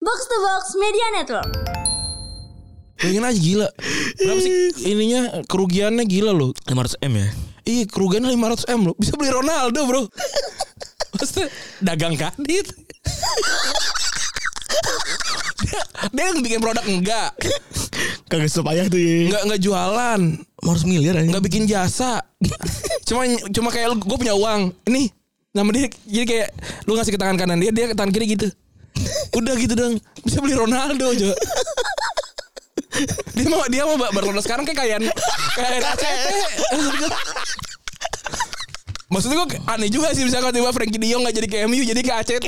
Box to Box Media Network. Pengen aja gila. Berapa sih ininya kerugiannya gila loh. 500 m ya. Iya kerugiannya 500 m loh. Bisa beli Ronaldo bro. Maksudnya dagang kadit. dia, dia yang bikin produk enggak. Kagak sepayah tuh ya. Enggak enggak jualan. 500 miliar aja. Enggak bikin jasa. cuma cuma kayak gue punya uang. Ini nama dia jadi kayak lu ngasih ke tangan kanan dia, dia ke tangan kiri gitu. Udah gitu dong. Bisa beli Ronaldo aja. dia mau dia mau ba- Barcelona sekarang kayak kayak kayak ACT. Maksudnya gue aneh juga sih misalnya tiba Frankie De Jong gak jadi ke MU jadi ke ACT.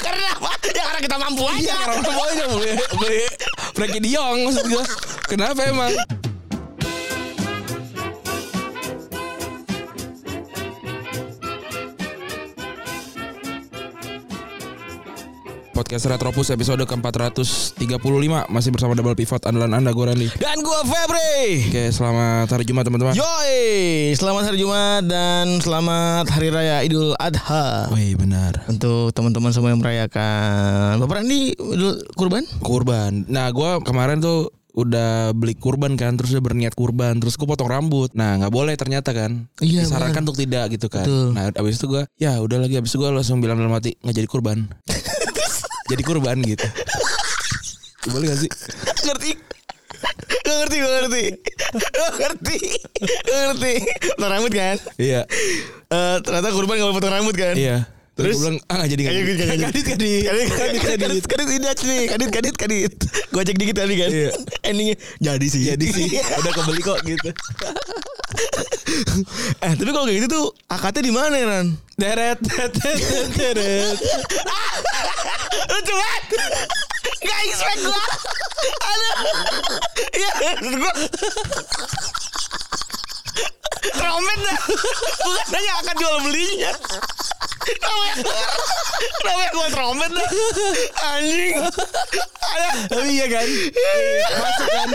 Karena apa? Ya karena kita mampu Iya karena orang tua aja beli beli Frankie De Jong maksud gue. Kenapa emang? Podcast Retropus episode ke-435 Masih bersama Double Pivot Andalan Anda gue Randy Dan gua Febri. Oke selamat hari Jumat teman-teman Yoi, selamat hari Jumat dan selamat hari raya Idul Adha. Wih benar Untuk teman-teman semua yang merayakan. Bapak Randi Idul Kurban? Kurban Nah gue kemarin tuh udah beli kurban kan Terus udah berniat kurban Terus gue potong rambut Nah nggak boleh ternyata kan Iya, Disarankan untuk tidak gitu kan Betul. Nah abis itu gue Ya udah lagi abis itu gue langsung bilang dalam hati nggak jadi kurban Jadi kurban gitu Boleh gak sih? ngerti Gak ngerti, gak ngerti Gak ngerti Gak ngerti Potong rambut kan Iya Eh Ternyata kurban gak boleh potong rambut kan Iya, Iya Terus? Terus gue bilang ah nggak jadi nggak Kadit, jadi kadit, kadit, gitu. kadit, kadit, kadit, kadit, kadit, ini aja nih. kadit, kadit, kadit, Gua cek dikit tadi kan. Iya. Endingnya jadi sih. Iya. Jadi sih Udah kebeli kok gitu eh tapi kalau kayak gitu tuh akadnya di mana Ran? Deret deret, deret, deret. Lucu banget. Gak expect gua. Aduh. Iya, maksud gua. Trompet dah. Bukan hanya akad jual belinya. Kenapa ya? Kenapa ya gua trompet dah? Anjing. Aduh. Tapi iya kan Masuk kan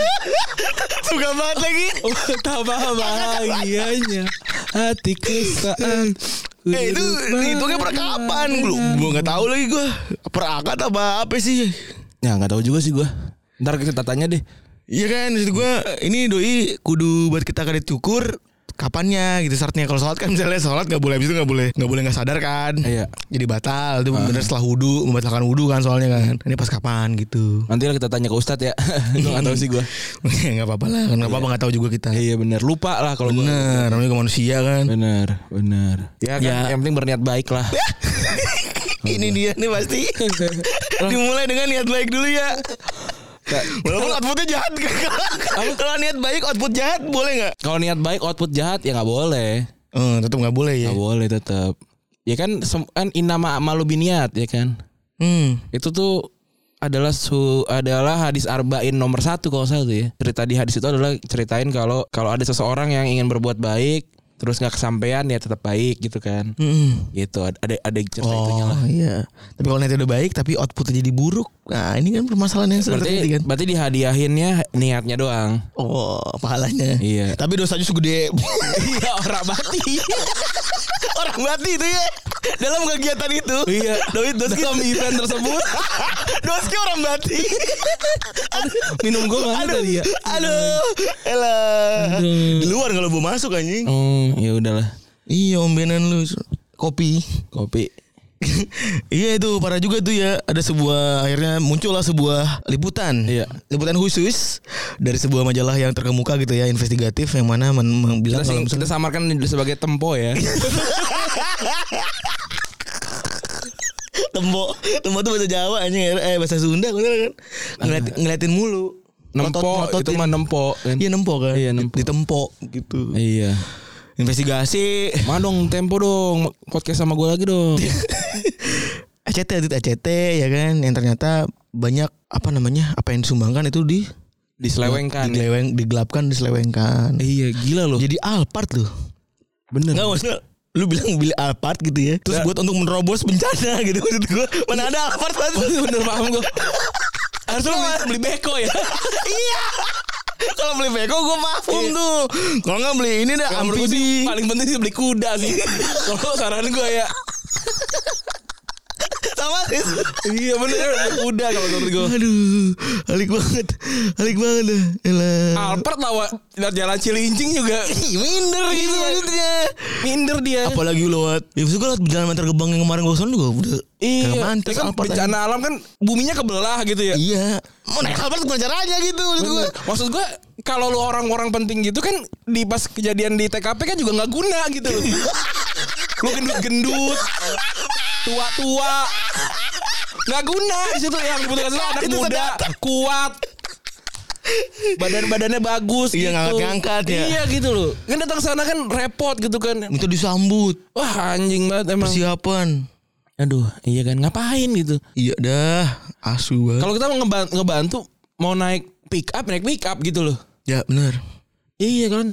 Suka banget lagi. Tambah Oh, bahagianya Hatiku saat Eh itu hitungnya per kapan? Belum belum nggak tahu lagi gua. Per akad apa apa sih? Ya nggak tahu juga sih gua. Ntar kita tanya deh. Iya kan maksud gua ini doi kudu buat kita kredit cukur kapannya gitu syaratnya kalau sholat kan misalnya sholat nggak boleh habis itu nggak boleh nggak boleh nggak sadar kan Iya. Ah. jadi batal itu bener setelah wudhu membatalkan wudhu kan soalnya kan ini pas kapan gitu Nanti lah kita tanya ke Ustadz ya. Gue nggak tahu sih gua. nggak apa-apa lah kan nggak apa-apa nggak tahu juga kita Iya bener. Lupa lah kalau gua. bener namanya juga manusia kan Bener, bener. Ya kan. Ya. Yang penting berniat baik lah. ini dia nih pasti dimulai dengan niat baik dulu Iya. ya walaupun outputnya jahat kalau niat baik output jahat boleh nggak kalau niat baik output jahat ya nggak boleh. Hmm, tetap nggak boleh ya. Nggak boleh tetap. Ya kan, sem- kan inama malu biniat ya kan. Hmm. Itu tuh adalah su adalah hadis arba'in nomor satu kalau nggak salah tuh ya cerita di hadis itu adalah ceritain kalau kalau ada seseorang yang ingin berbuat baik terus nggak kesampaian ya tetap baik gitu kan gitu ada ada, ada cerita itunya lah Hmm. Oh iya. Tapi kalau niatnya udah baik tapi outputnya jadi buruk. Nah ini kan permasalahan yang sudah berarti terjadi kan. berarti dihadiahinnya niatnya doang Oh pahalanya. Iya. Tapi dosanya segede iya orang mati orang mati itu ya. Dalam kegiatan itu. iya Doi doski dalam event tersebut doski orang mati. minum gue mana Aduh. tadi ya Aduh. Elah. Di luar kalau mau masuk anjing. hmm ya udahlah Iya ombenan lu kopi. kopi iya itu parah juga tuh ya ada sebuah akhirnya muncullah sebuah liputan Iya. liputan khusus dari sebuah majalah yang terkemuka gitu ya investigatif yang mana men- men- bilang kita, sing- kalau kita samarkan sebagai tempo ya tempo tempo tuh bahasa Jawa anjing eh bahasa Sunda bener kan Ngeliat, ngeliatin mulu Iya. nempo Ngotot-ngototin. itu mah nempo kan? iya nempo kan Iya, nempo. ditempo gitu iya investigasi Mana dong tempo dong podcast sama gue lagi dong ACT edit ACT ya kan yang ternyata banyak apa namanya apa yang disumbangkan itu di diselewengkan digeleweng digelapkan diselewengkan iya gila loh jadi Alphard tuh bener Enggak maksudnya lu bilang beli Alphard gitu ya. Terus Nggak. buat untuk menerobos bencana gitu maksud gue. Mana ada Alphard pasti. bener paham gue harusnya lu beli- beli beko ya iya. Kalau beli Beko gue mafum tuh. Kalau nggak beli ini dah Iya. Kalau menurut gue sih, amfibi. paling penting sih beli kuda sih. Kalau saran gue ya Sama iya bener udah kalau menurut gue Aduh, alik banget. Alik banget dah. Elah. Alpert lawan lewat jalan Cilincing juga Ih, minder gitu Iya. maksudnya. minder dia Apalagi lu lewat. Ya maksud gue lewat jalan antar gebang yang kemarin gue kesana juga udah Iya, kagak ya mantas kan Alphard bencana alam kan buminya kebelah gitu ya. aja. Iya. Mau naik Alphard gimana caranya gitu maksud gue. Bener. Maksud gua kalau lu orang-orang penting gitu kan di pas kejadian di TKP kan juga nggak guna gitu. loh. lu gendut-gendut, tua-tua, nggak guna di situ yang dibutuhkan itu anak Itu muda, kuat, badan-badannya bagus, gitu. Iya, ngangkat-ngangkat ya. Iya gitu loh. Kan datang sana kan repot gitu kan. Itu disambut Wah anjing banget emang. persiapan. Aduh, iya kan ngapain gitu. Iya dah, asu banget. Kalau kita mau ngeba- ngebantu mau naik pick up, naik pick up gitu loh. Ya benar. Iya kan?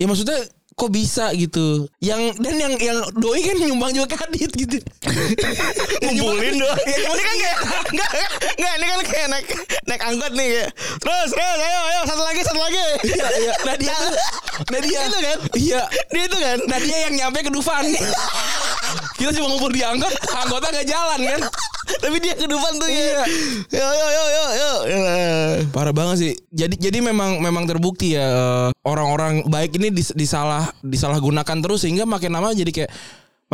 Ya maksudnya kok bisa gitu? Yang dan yang yang doi kan nyumbang juga kadit gitu. Ngumpulin doang. Iya, Ini kan kayak enggak enggak ini kan kayak naik naik angkot nih kayak. Terus, terus, ayo, ayo satu lagi, satu lagi. Iya, iya. Nadia tuh, Nadia Itu kan? Iya. Dia itu kan. Nadia yang nyampe ke Dufan. Kita cuma ngumpul di angkot, anggota gak jalan kan? Tapi dia ke depan tuh Iya. ya. Yo yo yo yo yo. Ya. Parah banget sih. Jadi jadi memang memang terbukti ya eh, orang-orang baik ini dis- disalah disalahgunakan terus sehingga makin lama jadi kayak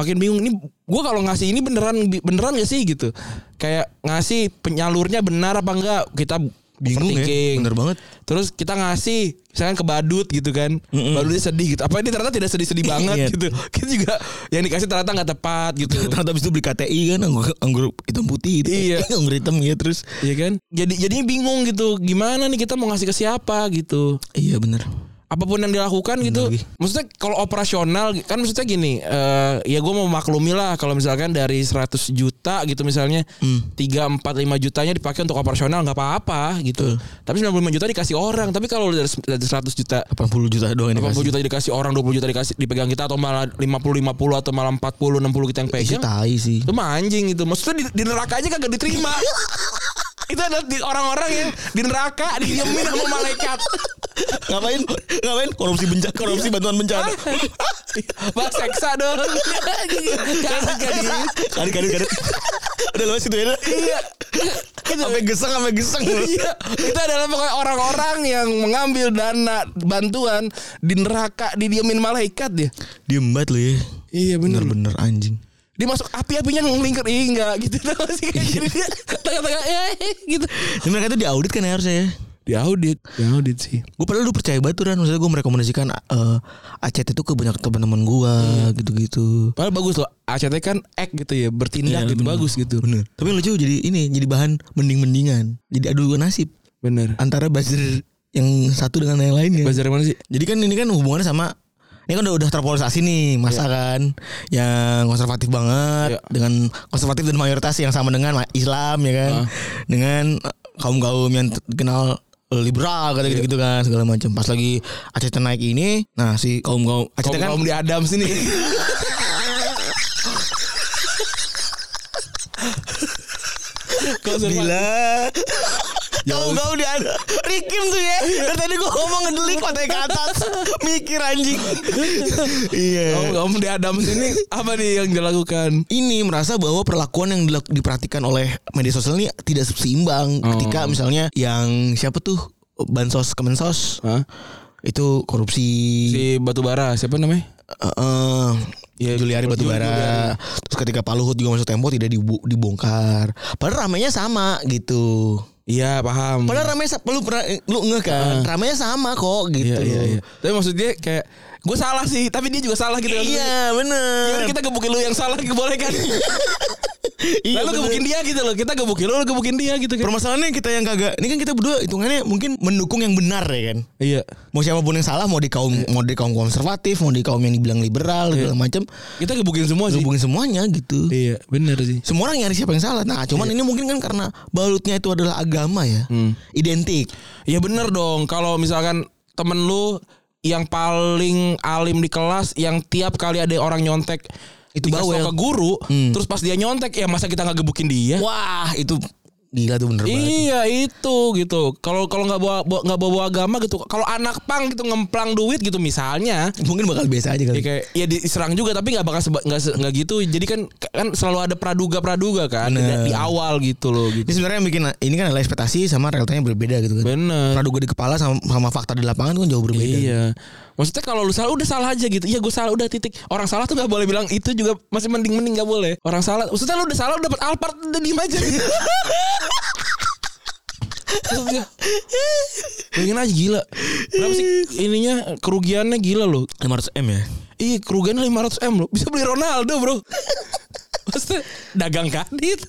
makin bingung ini gua kalau ngasih ini beneran beneran gak sih gitu. Kayak ngasih penyalurnya benar apa enggak kita Bingung ya. overthinking. Bener banget. Terus kita ngasih misalkan ke badut gitu kan. Badutnya sedih gitu. Apa ini ternyata tidak sedih-sedih banget Iya. gitu. Kita juga yang dikasih ternyata nggak tepat gitu. Ternyata abis itu beli KTI kan anggur, anggur hitam putih gitu. Iya. anggur hitam ya terus. Iya kan? Jadi jadinya bingung gitu. Gimana nih kita mau ngasih ke siapa gitu. Iya bener. apapun yang dilakukan gitu lagi. maksudnya kalau operasional kan maksudnya gini eh, ya gue mau maklumi lah kalau misalkan dari 100 juta gitu misalnya tiga 3 4 5 jutanya dipakai untuk operasional nggak apa-apa gitu tapi 95 juta dikasih orang tapi kalau dari dari 100 juta 80 juta doang ini 80 juta dikasih orang 20 juta dikasih dipegang kita atau malah 50 50 atau malah 40 60 kita yang Isi pegang tai sih. itu mah anjing gitu maksudnya di, di neraka aja kagak diterima itu ada di- orang-orang yang di neraka dijamin sama malaikat ngapain? Ngapain? Korupsi bencana, korupsi bantuan bencana. Bahas seksa dong Jangan kayak gini. Kadit kadit kadit. Udah lewat situ ya. Iya Gitu. Sampai geseng, sampai geseng. Iya. Itu adalah pokoknya orang-orang yang mengambil dana bantuan Di neraka Didiemin malaikat dia Diem banget lu ya. Iya bener Bener-bener anjing. Dia masuk api-apinya ngelingkar Iya enggak gitu tau gak sih Kayak gini. Tengah-tengah eh, gitu Ya, mereka itu diaudit kan ya harusnya ya. Di audit Di audit sih Gue padahal lu percaya banget tuh Ran Maksudnya gue merekomendasikan eh, ACT itu ke banyak teman-teman gue Gitu-gitu Padahal bagus loh ACT kan act gitu ya Bertindak gitu Bagus gitu Bener Tapi yang lucu jadi ini Jadi bahan mending-mendingan Jadi adu nasib Bener Antara buzzer yang satu dengan yang lainnya Belajar mana sih Jadi kan ini kan hubungannya sama ini kan udah, udah terpolarisasi nih masa kan yang konservatif banget Iya. dengan konservatif dan mayoritas yang sama dengan ma- Islam ya kan Ah. dengan kaum kaum yang t- kenal liberal Iya. kata gitu gitu kan segala macam pas lagi ACT naik ini nah si kaum kaum ACT kan Kaum-kaum di Adam sini Bila Kamu kamu di ada Rikim tuh Iya. ya Dari tadi gue ngomong ngedelik Pantai ke atas Mikir anjing Iya Kaum-kaum di Adam sini Apa nih yang dilakukan ini merasa bahwa perlakuan yang dilak- diperhatikan oleh media sosial ini tidak seimbang Oh. ketika misalnya yang siapa tuh bansos kemensos Hah? itu korupsi si Batubara siapa namanya? eh, eh, Ya, Juliari Juli- Batubara terus ketika Pak Luhut juga masuk tempo tidak dibu- dibongkar padahal ramenya sama gitu Iya paham. padahal ramenya sa- lu pernah lu ngeh kan ramenya sama kok Iya gitu iya iya. Tapi maksudnya kayak gue salah sih, tapi dia juga salah gitu. Iya, Ya bener udah, kita gebukin lu yang salah boleh kan? Iya, Lalu bener. gebukin dia gitu loh. Kita gebukin lu, lu gebukin dia gitu kan. permasalahannya kita yang kagak ini kan kita berdua hitungannya mungkin mendukung yang benar ya kan Iya. mau siapapun yang salah mau di kaum mau di kaum konservatif mau di kaum yang dibilang liberal segala macam Kita gebukin semua sih. hubungin semuanya gitu Iya, bener sih. semua orang nyari siapa yang salah nah cuman ini mungkin kan karena balutnya itu adalah agama ya identik Ya bener dong. Kalau misalkan temen lu yang paling alim di kelas yang tiap kali ada orang nyontek Itu dikasih tau bawel. Hmm. ke guru terus pas dia nyontek ya masa kita nggak gebukin dia wah itu Gila tuh bener banget. Iya itu gitu. Kalau kalau nggak bawa bawa- nggak bawa, bawa agama gitu. Kalau anak pang gitu ngemplang duit gitu misalnya. Mungkin bakal biasa aja Ya kali. kayak ya diserang juga tapi nggak bakal seba- nggak se- nggak gitu. Jadi kan kan selalu ada praduga praduga kan Bener. di awal gitu loh Ini gitu. sebenarnya yang bikin ini kan adalah ekspektasi sama realitanya berbeda gitu kan. Bener. Praduga di kepala sama, sama fakta di lapangan kan jauh berbeda. Iya. Maksudnya kalau lu salah udah salah aja gitu. Iya gue salah udah titik. Orang salah tuh gak boleh bilang itu juga masih mending mending gak boleh. Orang salah. Maksudnya lu udah salah udah dapat Alphard udah diem aja. Gitu. Maksudnya, Bayangin aja gila. Berapa sih ininya kerugiannya gila loh. 500 M ya. Iya kerugiannya 500 m loh. Bisa beli Ronaldo bro. Maksudnya dagang kadit.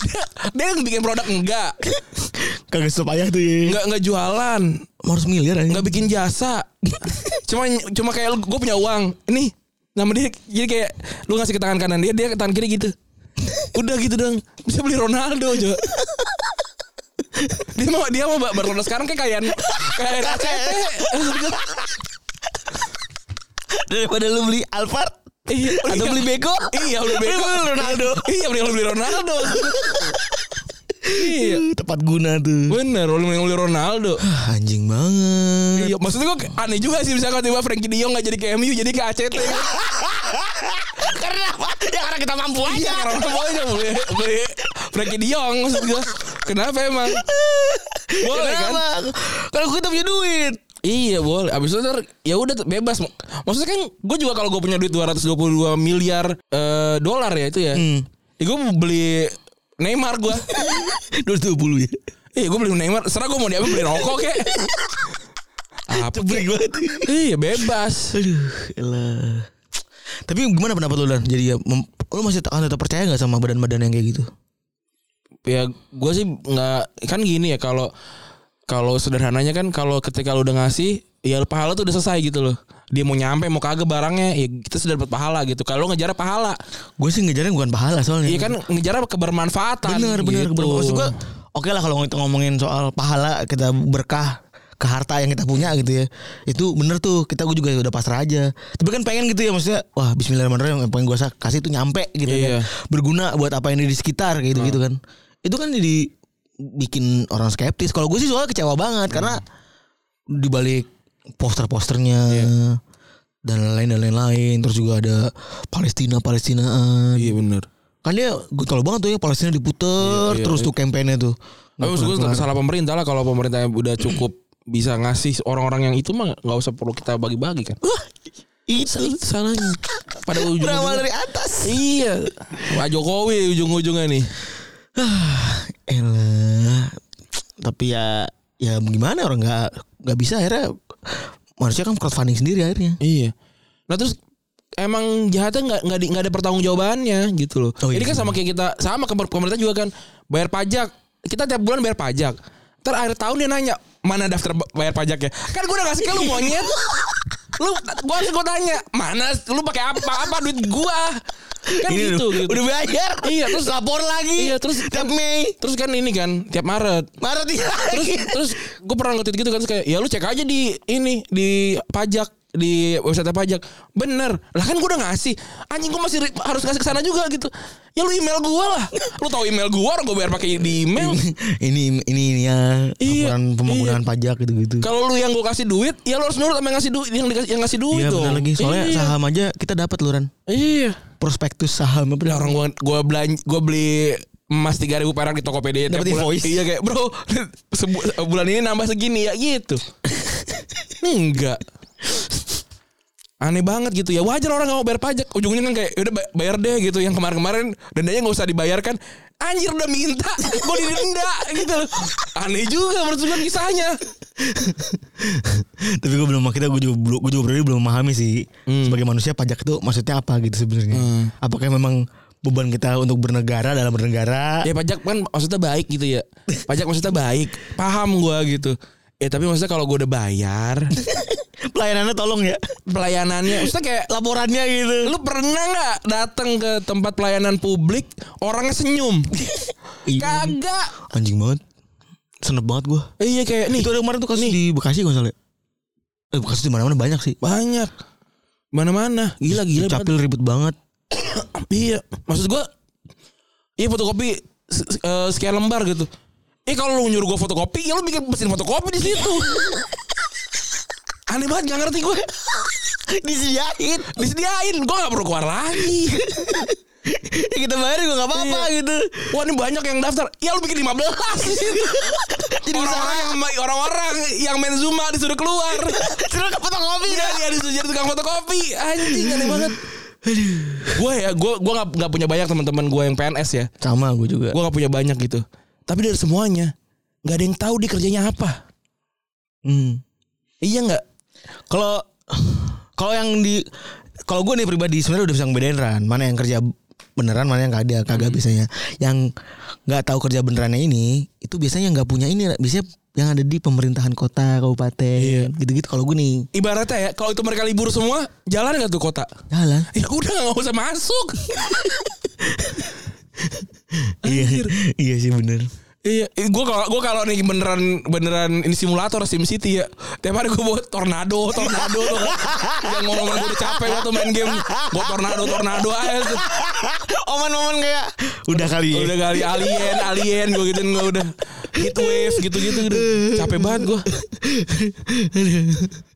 dia, dia yang bikin produk enggak, Kagak stop ayah tuh ya. enggak enggak jualan, 500 miliar aja. nggak bikin jasa cuma cuma kayak gue punya uang ini nama dia jadi kayak lu ngasih ke tangan kanan dia dia ke tangan kiri gitu udah gitu dong bisa beli Ronaldo aja dia mau dia mau Mbak, Barcelona sekarang kayak kayak kayak ACT Daripada lu beli Alphard Iya, atau beli Beko. iya beli Beko Beli Ronaldo. iya beli beli Ronaldo iya Tepat guna tuh. bener beli beli Ronaldo Ah, anjing banget. Iya, maksudnya gue aneh juga sih misalnya tiba Frankie De Jong gak jadi ke MU jadi ke ACT. Karena apa? Ya karena kita mampu Ya, Iya, karena orang tua aja boleh beli Frankie De Jong maksud gue. Kenapa emang? Boleh kan? Kalau kita punya duit. Iya boleh. Abis itu ntar ya udah tuh, bebas. Maksudnya kan gue juga kalau gue punya duit 222 miliar eh, dolar ya itu ya. Hmm. Ya gue beli Neymar gue. 220 ya. Iya gue beli Neymar. Serah gue mau diapa beli rokok kek. Apa? Cebrik banget. Iya bebas. Aduh, elah. Tapi gimana pendapat lu Dan? Jadi ya, mem- lu masih akan tetap percaya gak sama badan-badan yang kayak gitu? ya gue sih nggak kan gini ya kalau kalau sederhananya kan kalau ketika lu udah ngasih ya pahala tuh udah selesai gitu loh dia mau nyampe mau kagak barangnya ya kita sudah dapat pahala gitu kalau lu ngejar pahala Gue sih ngejarnya bukan pahala soalnya. iya kan ngejar kebermanfaatan Bener bener gitu. bener. Maksud gua, Oke lah kalau kita ngomongin soal pahala kita berkah ke harta yang kita punya gitu ya itu bener tuh kita gue juga udah pasrah aja tapi kan pengen gitu ya maksudnya wah Bismillahirrahmanirrahim yang pengen gue kasih itu nyampe gitu Iya. Nah. ya berguna buat apa yang ada di sekitar gitu gitu kan itu kan jadi bikin orang skeptis kalau gue sih soalnya kecewa banget karena Hmm. dibalik poster-posternya Iya. dan lain-lain dan lain-lain terus juga ada Palestina Palestinaan iya bener Kan dia getol banget tuh ya Palestina diputer Iya, iya, terus iya. tuh kampanye tuh. tapi maksud gue salah pemerintah lah kalau pemerintah udah cukup bisa ngasih orang-orang yang itu mah nggak usah perlu kita bagi-bagi kan Itu salahnya pada ujung berawal dari atas. iya Pak Jokowi ujung-ujungnya nih Elah. Tapi ya ya gimana orang nggak nggak bisa akhirnya manusia kan crowdfunding sendiri akhirnya. Iya. Nah terus emang jahatnya nggak nggak di- nggak ada pertanggungjawabannya gitu loh. Oh, iya, Ini kan sama kayak kita sama ke pemerintah juga kan bayar pajak. Kita tiap bulan bayar pajak. Ntar akhir tahun dia nanya mana daftar ba- bayar pajaknya. Kan gue udah ngasih ke lu monyet. lu gua gua tanya mana lu pakai apa apa duit gua kan Ini gitu, udah, gitu. udah bayar. Iya, terus- lapor lagi. Iya, terus- tiap Mei. terus kan ini kan tiap Maret Maret iya terus lagi. terus gue pernah ngetit gitu kan terus kayak ya lu cek aja di ini di pajak di website pajak bener lah kan gue udah ngasih anjing gue masih ri- harus ngasih ke sana juga gitu ya lu email gue lah lu tahu email gue orang gue bayar pakai di email ini ini ini ya Iya, laporan pembangunan pajak gitu-gitu. kalau lu yang gue kasih duit ya lu harus nurut sama yang ngasih duit yang, dikasih, yang ngasih duit Iya dong benar lagi soalnya iya. saham aja kita dapat luran. iya Prospektus saham apa Lah, orang gue gue belanja gue beli emas tiga ribu perak di Tokopedia tiap bulan. Dapat invoice. iya kayak bro sebu- bulan ini nambah segini ya gitu enggak aneh banget gitu ya wajar orang nggak mau bayar pajak ujungnya kan kayak udah bayar deh gitu yang kemarin-kemarin dendanya nggak usah dibayarkan anjir udah minta gue didenda gitu loh. aneh juga menurut gue kisahnya Tapi gue belum kita gue juga belum- gue juga berarti belum memahami sih sebagai manusia pajak itu maksudnya apa gitu sebenarnya. Apakah memang beban kita untuk bernegara dalam bernegara? ya pajak kan maksudnya baik gitu ya pajak maksudnya baik paham gue gitu ya tapi maksudnya kalau gue udah bayar Pelayanannya tolong ya. pelayanannya maksudnya kayak Laporannya gitu. lu pernah nggak datang ke tempat pelayanan publik orangnya senyum Iya. kagak Anjing banget. Senep banget gue. iya kayak nih Itu ada kemarin tuh kasus di Bekasi kalau nggak salah. ya? Eh Bekasi di mana-mana banyak sih. banyak mana-mana gila gila Capil ribet banget. banget. iya maksud gua Iya fotokopi se- se- eh, sekian lembar gitu. Eh kalau lu nyuruh gua fotokopi, ya lu bikin mesin fotokopi di situ. Aneh banget gak ngerti gue. disediain Disediain, gua gak perlu keluar lagi. Ya kita bayar juga gak apa-apa gitu Iya. Wah ini banyak yang daftar. Ya lu bikin 15 di situ. Jadi orang-orang yang orang-orang yang main Zuma disuruh keluar. Terus ke fotokopi Iya dia disuruh jadi tukang fotokopi. Anjing aneh banget. Gue ya, gue gua gak, nggak punya banyak teman-teman gue yang PNS ya. Sama gue juga Gue gak punya banyak gitu. Tapi dari semuanya, gak ada yang tahu dia kerjanya apa. Hmm. Iya nggak? Kalau kalau yang di kalau gue nih pribadi sebenarnya udah bisa ngebedain Ran, mana yang kerja beneran mana yang kagak kagak biasanya. Yang nggak tahu kerja benerannya ini itu biasanya nggak punya ini biasanya yang ada di pemerintahan kota kabupaten gitu-gitu kalau gue nih Ibaratnya ya, kalau itu mereka libur semua, jalan nggak tuh kota? jalan Ya udah gak usah masuk. iya iya sih bener Iya, gue kalau gue kalau nih beneran beneran ini simulator Sim City ya. Tiap hari gue buat tornado, tornado tuh. Yang ngomong gue udah capek banget tuh main game. Gue tornado, tornado aja tuh. oman-oman kayak udah kali ya Udah kali alien, alien gue gituin gue udah heat wave gitu-gitu udah. Capek banget gue.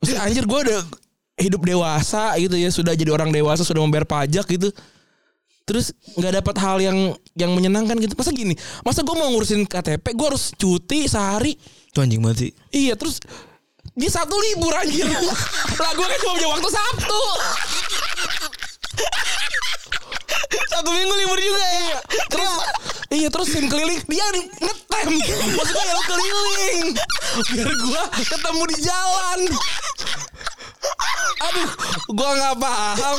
Maksudnya anjir gue udah hidup dewasa gitu ya, sudah jadi orang dewasa, sudah membayar pajak gitu. Terus nggak dapat hal yang yang menyenangkan gitu. Masa gini, masa gue mau ngurusin KTP, gue harus cuti sehari. tuh anjing banget sih Iya terus dia Sabtu libur anjir Lah gue kan cuma punya waktu Sabtu satu minggu libur juga ya Terus Iya terus tim keliling Dia di- ngetem Maksudnya ya lu keliling Biar gue ketemu di jalan Aduh Gue gak paham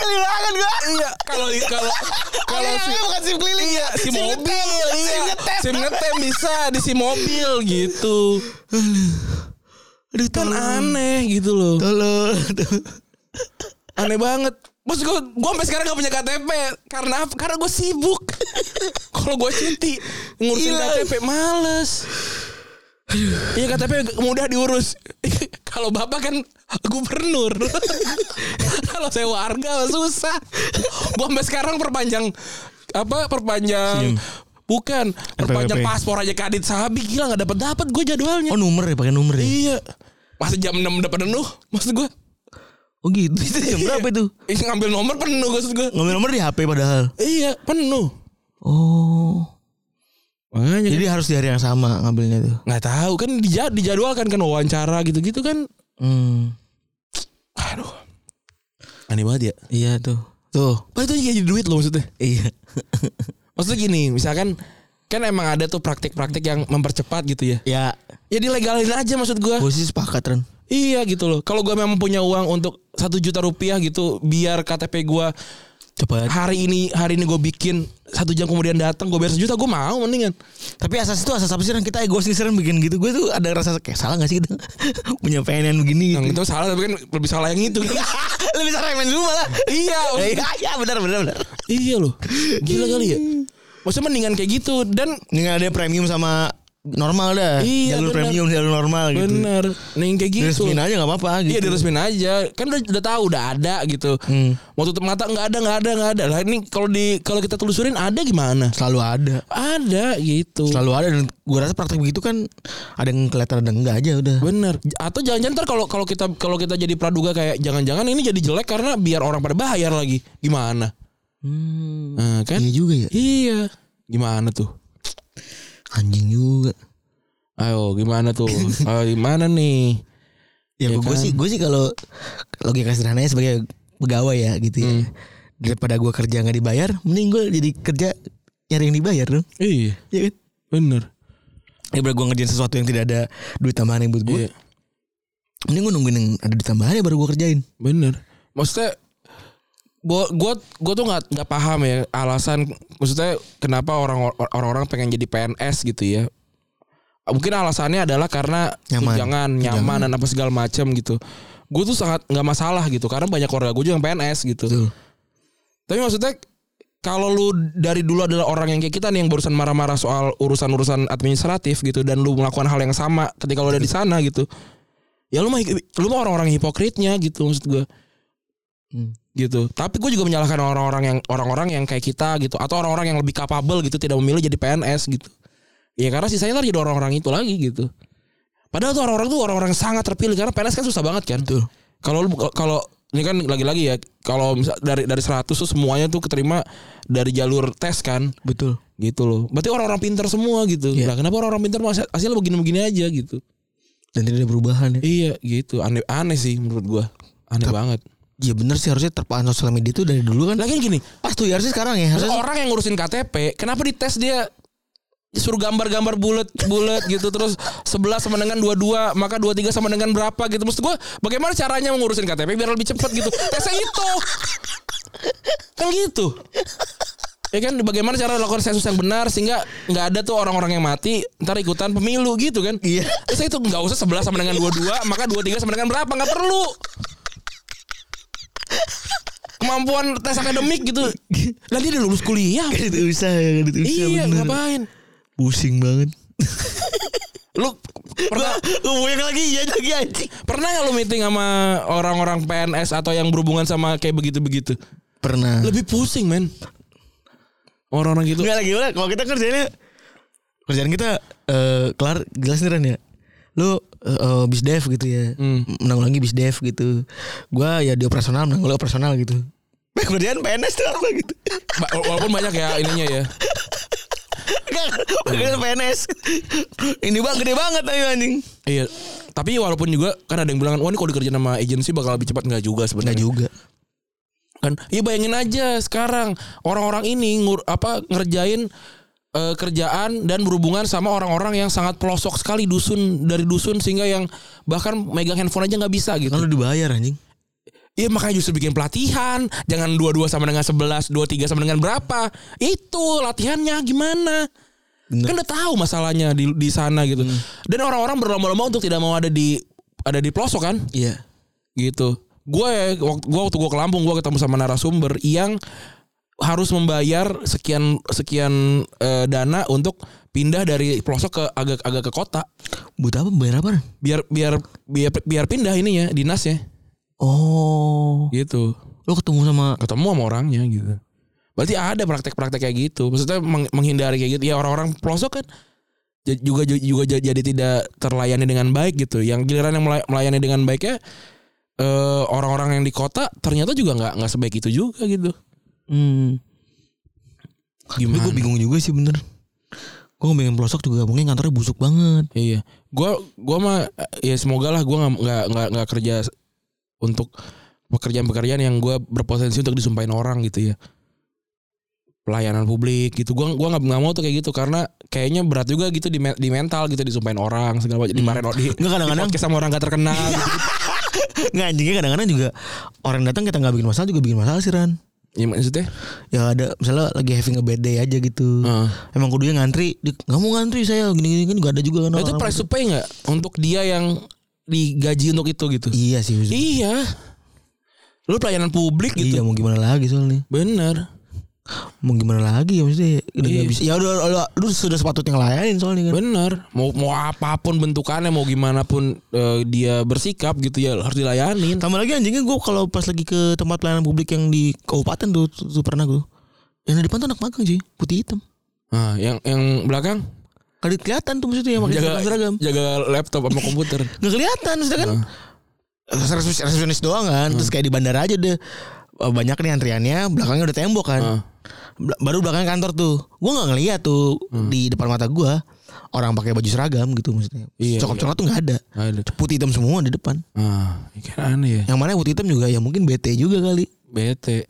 kelilangan gue Iya Kalau kalau kalau si, bukan sim keliling Iya si mobil Iya Sim ngetem bisa Di si mobil gitu aduh Kan tolong aneh gitu loh tolong aneh banget Maksud gue, gue sampai sekarang gak punya KTP Karena apa? Karena gue sibuk Kalau gue cuti Ngurusin Gila. KTP males Iya KTP mudah diurus Kalau bapak kan gubernur Kalau saya warga susah Gue sampai sekarang perpanjang Apa perpanjang SIM. Bukan Perpanjang RPWP. paspor aja kadit sabi Gila gak dapet-dapet gue jadwalnya Oh nomor ya pakai nomor ya? Iya Masih jam 6 udah penuh Maksud gue Oh gitu itu jam berapa itu? Ih, ngambil nomor penuh maksud gue Ngambil nomor di HP padahal. Iya penuh Oh. Makanya kan- Jadi harus di hari yang sama ngambilnya tuh. nggak tahu kan dija- dijadwalkan kan wawancara gitu-gitu kan Hmm. Aduh Aneh banget ya Iya tuh. Tuh. Padahal itu jadi duit loh maksudnya Iya. Maksudnya gini misalkan Kan emang ada tuh praktik-praktik yang mempercepat gitu ya ya, Ya dilegalin aja maksud gue gue sih sepakat Ren. Iya gitu loh Kalau gue memang punya uang untuk satu juta rupiah gitu Biar KTP gue Cepat. hari ini hari ini gue bikin satu jam kemudian datang gue bayar sejuta gue mau mendingan Tapi asas itu asas apa sih Ren? Kita egois nih Ren bikin gitu. Gue tuh ada rasa kayak salah gak sih kita punya pengen begini yang gitu. itu salah tapi kan lebih salah yang itu kan Lebih salah main Zuma lah. iya maksud Iya, iya benar benar benar. Iya loh. Gila kali ya. Maksudnya mendingan kayak gitu dan Ini nggak ada premium sama normal dah. Iya, jalur benar. premium, jalur normal gitu. bener mending kayak gitu. Diresmin aja gak apa-apa gitu. Hmm. Iya diresmin aja. Kan udah, udah tahu udah ada gitu. Mau tutup mata nggak ada nggak ada nggak ada. Lah ini kalau di kalau kita telusurin ada gimana? Selalu ada. Ada gitu. selalu ada dan gue rasa praktek begitu kan ada yang kelihatan ada yang enggak aja udah Bener. Atau jangan-jangan ntar kalau kalau kita kalau kita jadi praduga kayak jangan-jangan ini jadi jelek karena biar orang pada bayar lagi. Gimana? Nah, kan? iya juga ya Iya. Gimana tuh? anjing juga Ayo gimana tuh? Ayo, gimana nih? ya, Iya gue kan? sih gue sih kalau logika sederhananya sebagai pegawai ya gitu ya daripada gue kerja nggak dibayar mending gue jadi kerja nyari yang dibayar dong Iya. Iya kan Bener. daripada gue ngerjain sesuatu yang tidak ada duit tambahan yang buat gue Iya. mending gue nungguin yang ada duit tambahan ya baru gue kerjain Bener. Maksudnya gua gua gua tuh nggak nggak paham ya alasan maksudnya kenapa orang orang-orang pengen jadi PNS gitu ya. Mungkin alasannya adalah karena Nyaman. tunjangan, nyaman, dan apa segala macam gitu. Gue tuh sangat nggak masalah gitu karena banyak keluarga gue juga yang PNS gitu. Betul. Tapi maksudnya kalau lu dari dulu adalah orang yang kayak kita nih yang barusan marah-marah soal urusan-urusan administratif gitu dan lu melakukan hal yang sama ketika lu ada di sana gitu. Ya lu mah lu mah orang-orang hipokritnya gitu maksud gue. Hmm. gitu. Tapi gue juga menyalahkan orang-orang yang orang-orang yang kayak kita gitu atau orang-orang yang lebih capable gitu tidak memilih jadi PNS gitu. Ya karena sisanya ntar jadi orang-orang itu lagi gitu. Padahal tuh orang-orang tuh orang-orang yang sangat terpilih karena PNS kan susah banget kan. Tuh. Kalau lu buka- kalau ini kan lagi-lagi ya kalau misal dari dari 100 tuh semuanya tuh keterima dari jalur tes kan Betul. gitu loh. Berarti orang-orang pintar semua gitu. Iya. Nah, kenapa orang-orang pintar masih hasilnya begini-begini aja gitu? Dan tidak ada perubahan ya. Iya, gitu. Aneh aneh sih menurut gua. Aneh banget. Iya bener sih harusnya terpaan sosial media itu dari dulu kan. Lagian gini, Pas tuh ya harusnya sekarang ya. Terus Harusnya orang yang ngurusin KTP, kenapa dites dia suruh gambar-gambar bulat bulat gitu terus 11 sama dengan 22 maka 23 sama dengan berapa gitu maksud gua bagaimana caranya mengurusin KTP biar lebih cepat gitu tesnya itu kan gitu ya kan bagaimana cara lakukan sensus yang benar sehingga nggak ada tuh orang-orang yang mati ntar ikutan pemilu gitu kan Iya. terus itu nggak usah 11 sama dengan 22 maka 23 sama dengan berapa nggak perlu kemampuan tes akademik gitu lah dia udah lulus kuliah Gak ada usaha ya, gak ada usaha Iya bener. ngapain? Pusing banget. Lu pernah Lu boyang lagi iya lagi anjing. pernah nggak lu meeting sama orang-orang PNS atau yang berhubungan sama kayak begitu-begitu? Pernah. Lebih pusing men. Orang-orang gitu. Enggak lagi gimana? Kalau kita kerjanya kerjaan kita eh, kelar jelas nih Ren ya. Lu eh, eh, bisdev gitu ya. Menanggulangi bisdev gitu. Gua ya di operasional menanggulangi operasional gitu. Kerjaan PNS tuh apa gitu. Ba- Walaupun banyak ya ininya ya. Enggak, kerjaan PNS. Ini bang gede banget ayo anjing. Iya. Tapi walaupun juga kan ada yang bilang wah ini kalau dikerjain sama agensi bakal lebih cepat nggak juga Enggak sebenarnya. juga. kan ya bayangin aja sekarang orang-orang ini ngur, apa ngerjain eh, kerjaan dan berhubungan sama orang-orang yang sangat pelosok sekali dusun dari dusun sehingga yang bahkan megang handphone aja nggak bisa gitu Kan lu dibayar anjing. Iya makanya justru bikin pelatihan Jangan 22 sama dengan 11 23 sama dengan berapa Itu latihannya gimana Bener. Kan udah tahu masalahnya di, di sana gitu Dan orang-orang berlomba-lomba untuk tidak mau ada di Ada di pelosok kan Iya. gitu gue ya, waktu gue waktu gue ke Lampung gue ketemu sama narasumber yang harus membayar sekian sekian eh, dana untuk pindah dari pelosok ke agak agak ke kota Buat apa bayar apa? Ren? biar biar biar biar pindah ininya dinasnya Oh. gitu Lu ketemu sama ketemu sama orangnya gitu berarti ada praktek-praktek kayak gitu maksudnya meng- menghindari kayak gitu ya orang-orang pelosok kan j- juga ju- juga j- jadi tidak terlayani dengan baik gitu yang giliran yang melay- melayani dengan baiknya eh, orang-orang yang di kota ternyata juga nggak nggak sebaik itu juga gitu hmm. Tapi gimana gue bingung juga sih bener Gue pengen pelosok juga mungkin kantornya busuk banget Iya, gua gua mah eh, ya semoga lah gua nggak nggak nggak nggak kerja s- untuk pekerjaan-pekerjaan yang gua berpotensi untuk disumpahin orang gitu ya. Pelayanan publik gitu. Gua gua nggak nggak mau tuh kayak gitu karena kayaknya berat juga gitu di, me- di mental gitu disumpahin orang segala macam dimarahin orang di Hmm. Nggak, kadang-kadang- Iya. di podcast sama orang gak terkenal gitu. Nggak anjingnya kadang-kadang juga Orang datang kita nggak bikin masalah juga bikin masalah sih Ran Ya maksudnya? Ya ada misalnya lagi having a bad day aja gitu Heeh. Emang kudunya ngantri dia, Nggak mau ngantri saya gini-gini kan nggak ada juga kan Nah, itu orang-orang price gitu. to pay nggak untuk dia yang digaji untuk itu gitu? Iya sih busuk. Iya. Lu pelayanan publik Iya gitu. mau gimana lagi soalnya Bener. Mau gimana lagi ya maksudnya Udah Iya. nggak bisa. Ya udah, udah, udah sudah sepatutnya ngelayanin soalnya kan Bener, mau mau apapun bentukannya, mau gimana pun eh, dia bersikap gitu ya harus dilayanin. Tambah lagi anjingnya gue kalau pas lagi ke tempat pelayanan publik yang di kabupaten tuh, tuh, tuh pernah gue Yang di depan tuh anak magang sih Putih hitam Nah, yang yang belakang Kali kelihatan tuh maksudnya yang pakai jaga seragam seragam. jaga laptop sama komputer. Nggak kelihatan maksudnya kan. Nah. Resepsionis, resepsionis doang kan. Terus kayak di bandara aja deh Eh, banyak nih antriannya, belakangnya udah tembok kan. Heeh. Bel- Baru belakang kantor tuh. Gua nggak ngeliat tuh Hmm. di depan mata gua orang pakai baju seragam gitu maksudnya. Iya, Coklat-coklat tuh nggak ada. Ada. Putih hitam semua di depan. Ah, ini kan aneh ya. Yang mana putih hitam juga ya mungkin BT juga kali. Bete.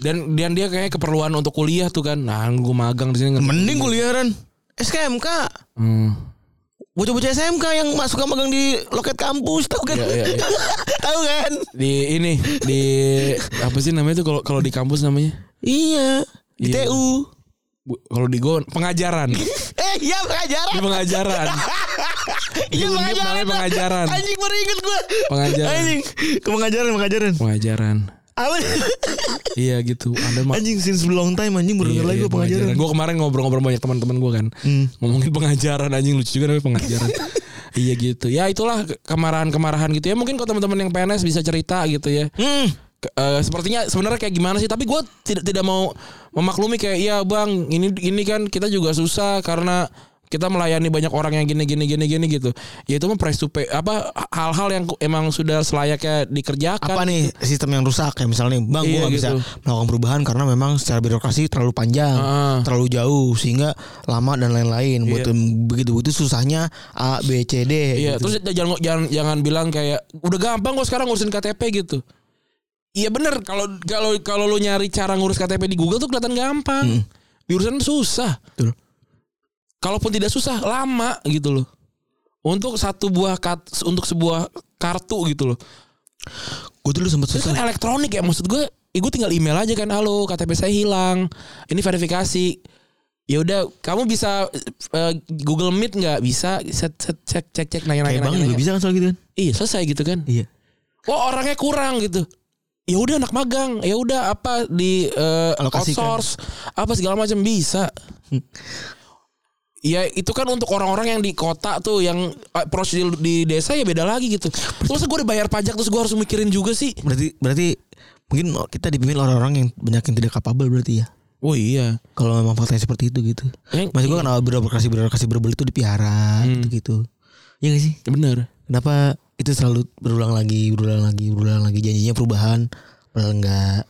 Dan dan dia kayak keperluan untuk kuliah tuh kan. Nah, gue magang di sini. Mending kuliahan SKMK. Hmm. Bocah-bocah SMK yang masuk ke magang di loket kampus tahu kan? Iya, iya, iya. tahu kan? Di ini di apa sih namanya tuh kalau kalau di kampus namanya? Iya. Di Iya. TU. Bu- Kalau di gue pengajaran. Di Eh iya pengajaran pengajaran. Iya Undip namanya pengajaran. Anjing baru inget gue Pengajaran. Anjing Ke pengajaran pengajaran Pengajaran. Apa Iya gitu. Ada mah Anjing since long time anjing Iya, baru denger lagi gue pengajaran Hmm. Gue kemarin ngobrol-ngobrol banyak teman-teman gue kan, ngomongin pengajaran anjing lucu juga namanya pengajaran. iya gitu. Ya itulah kemarahan-kemarahan gitu ya. Mungkin kalau teman-teman yang PNS bisa cerita gitu ya. Hmm Ke- eh, sepertinya sebenarnya kayak gimana sih tapi gue tidak tidak mau memaklumi kayak iya bang ini ini kan kita juga susah karena kita melayani banyak orang yang gini gini gini gini gitu ya itu mah price to pay apa hal-hal yang ku- emang sudah selayaknya dikerjakan apa nih sistem yang rusak ya misalnya nih, bang gue Kan Iya, nggak gitu. bisa melakukan perubahan karena memang secara birokrasi terlalu panjang Heeh. terlalu jauh sehingga lama dan lain-lain buat begitu begitu susahnya a b c d Iya, gitu. terus jangan jangan jangan bilang kayak udah gampang kok sekarang ngurusin KTP gitu. Iya bener kalau kalau kalau lu nyari cara ngurus KTP di Google tuh kelihatan gampang. Diurusan susah. Betul. Kalaupun tidak susah lama gitu loh. Untuk satu buah kat, untuk sebuah kartu gitu loh. gue dulu sempet Terus susah kan elektronik ya maksud gue, ya gue tinggal email aja kan halo KTP saya hilang. Ini verifikasi. Ya udah, kamu bisa eh, Google Meet nggak? Bisa set, set, cek cek cek nanya nanya. kayak bang nanya, juga nanya. bisa kan soal gitu kan Iya selesai gitu kan. iya Wah orangnya kurang gitu. Ya udah anak magang, ya udah apa di eh, Alokasikan. outsource, apa segala macam bisa. Ya itu kan untuk orang-orang yang di kota tuh yang eh, prosedur di desa ya beda lagi gitu. Terus gue udah bayar pajak terus gue harus mikirin juga sih. berarti berarti mungkin kita dipimpin orang-orang yang banyak yang tidak kapabel berarti ya Oh iya. kalau memang faktanya seperti itu gitu Eh, Hmm. maksud gue kenapa birokrasi birokrasi berbel itu dipiara gitu gitu Iya gak sih Bener. kenapa itu selalu berulang lagi berulang lagi berulang lagi janjinya perubahan padahal enggak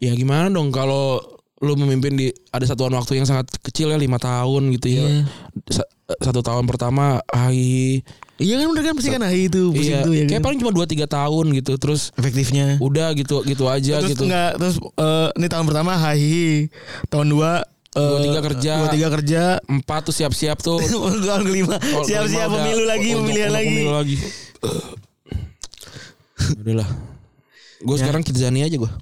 Ya gimana dong kalau lu memimpin di ada satuan waktu yang sangat kecil ya lima tahun gitu ya. Iya. Sa- eh, satu tahun pertama AI iya kan bener kan pasti kan ah, itu iya. pusing tuh ya kayak kan? paling cuma 2 3 tahun gitu terus efektifnya udah gitu gitu aja terus gitu enggak terus eh, ini tahun pertama hahi tahun dua eh, Dua tiga kerja. dua tiga kerja empat tuh siap-siap tuh tahun kelima Kalau siap kelima siap udah- pemilu lagi untuk- pemilihan untuk lagi pemilu lagi udahlah gue Ya. sekarang Kidzania aja gue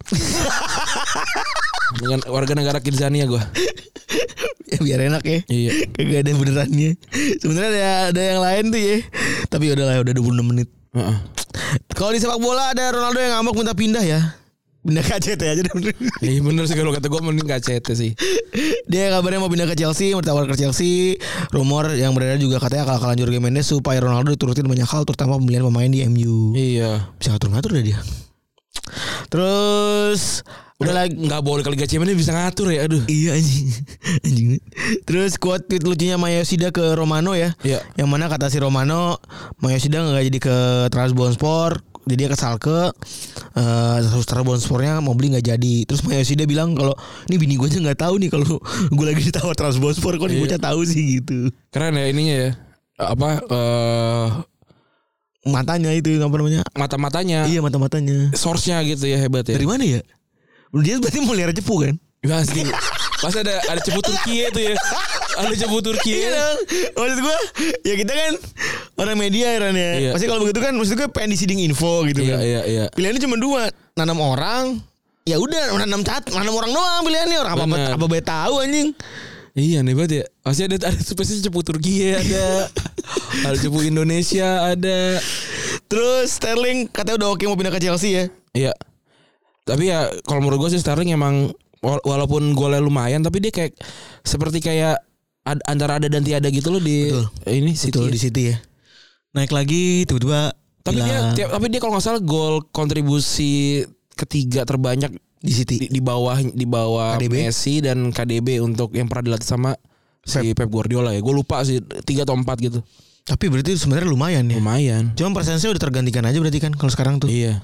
dengan warga negara Kidzania gue ya, biar enak ya iya kagak ada benerannya sebenarnya ada ada yang lain tuh ya tapi udahlah udah 26 menit Heeh. kalau di sepak bola ada Ronaldo yang ngamuk minta pindah ya pindah ke ACT aja deh. Iya bener sih kalau kata gue mending gak CT sih dia kabarnya mau pindah ke Chelsea bertawar ke Chelsea rumor yang beredar juga katanya kalau kalah Jorge Mendes supaya Ronaldo diturutin banyak hal terutama pembelian pemain di MU Iya bisa ngatur ngatur deh dia terus udah lagi Gak boleh kalau Liga Champions bisa ngatur ya Aduh iya anjing anjing terus quote tweet lucunya Mayosida ke Romano ya Iya yang mana kata si Romano Mayosida nggak jadi ke Trabzonspor jadi dia ke Salke eh, terus Trabzonspornya mau beli nggak jadi terus Mayosida bilang kalau ini bini gue aja nggak tahu nih kalau gue lagi ditawar Trabzonspor kok nih bocah tahu sih gitu Keren ya ininya ya Apa eh matanya itu apa namanya Mata-matanya iya mata matanya Source-nya gitu ya hebat ya dari mana ya dia berarti melihara cepu kan Ya asli. Pas ada ada cepu Turki itu ya. Ada cepu Turki. Iya dong. Maksud gue ya kita kan orang media Ran, ya. Iya. Pasti kalau begitu kan maksud gue pengen disiding info gitu Iya kan. iya iya. Pilihannya cuma dua, nanam orang Ya udah nanam cat, nanam orang doang pilihannya orang apa Bener. apa bae tahu anjing. Iya aneh banget ya. Pasti ada ada spesies cepu Turki ya, ada. ada cepu Indonesia ada. Terus Sterling katanya udah oke mau pindah ke Chelsea ya. Iya. Tapi ya kalau menurut gue sih Sterling emang wala- walaupun golnya lumayan tapi dia kayak seperti kayak ad- antara ada dan tiada gitu loh di Betul. ini City. Betul di City ya. Naik lagi tiba-tiba Tapi dia hilang. tiap- tapi dia kalau nggak salah gol kontribusi ketiga terbanyak di City. di, di bawah di bawah KDB? Messi dan KDB untuk yang pernah dilatih sama si Pep Guardiola ya. Gue lupa sih tiga atau empat gitu. Tapi berarti sebenarnya lumayan ya. Lumayan. Cuma persennya udah tergantikan aja berarti kan kalau sekarang tuh. Iya.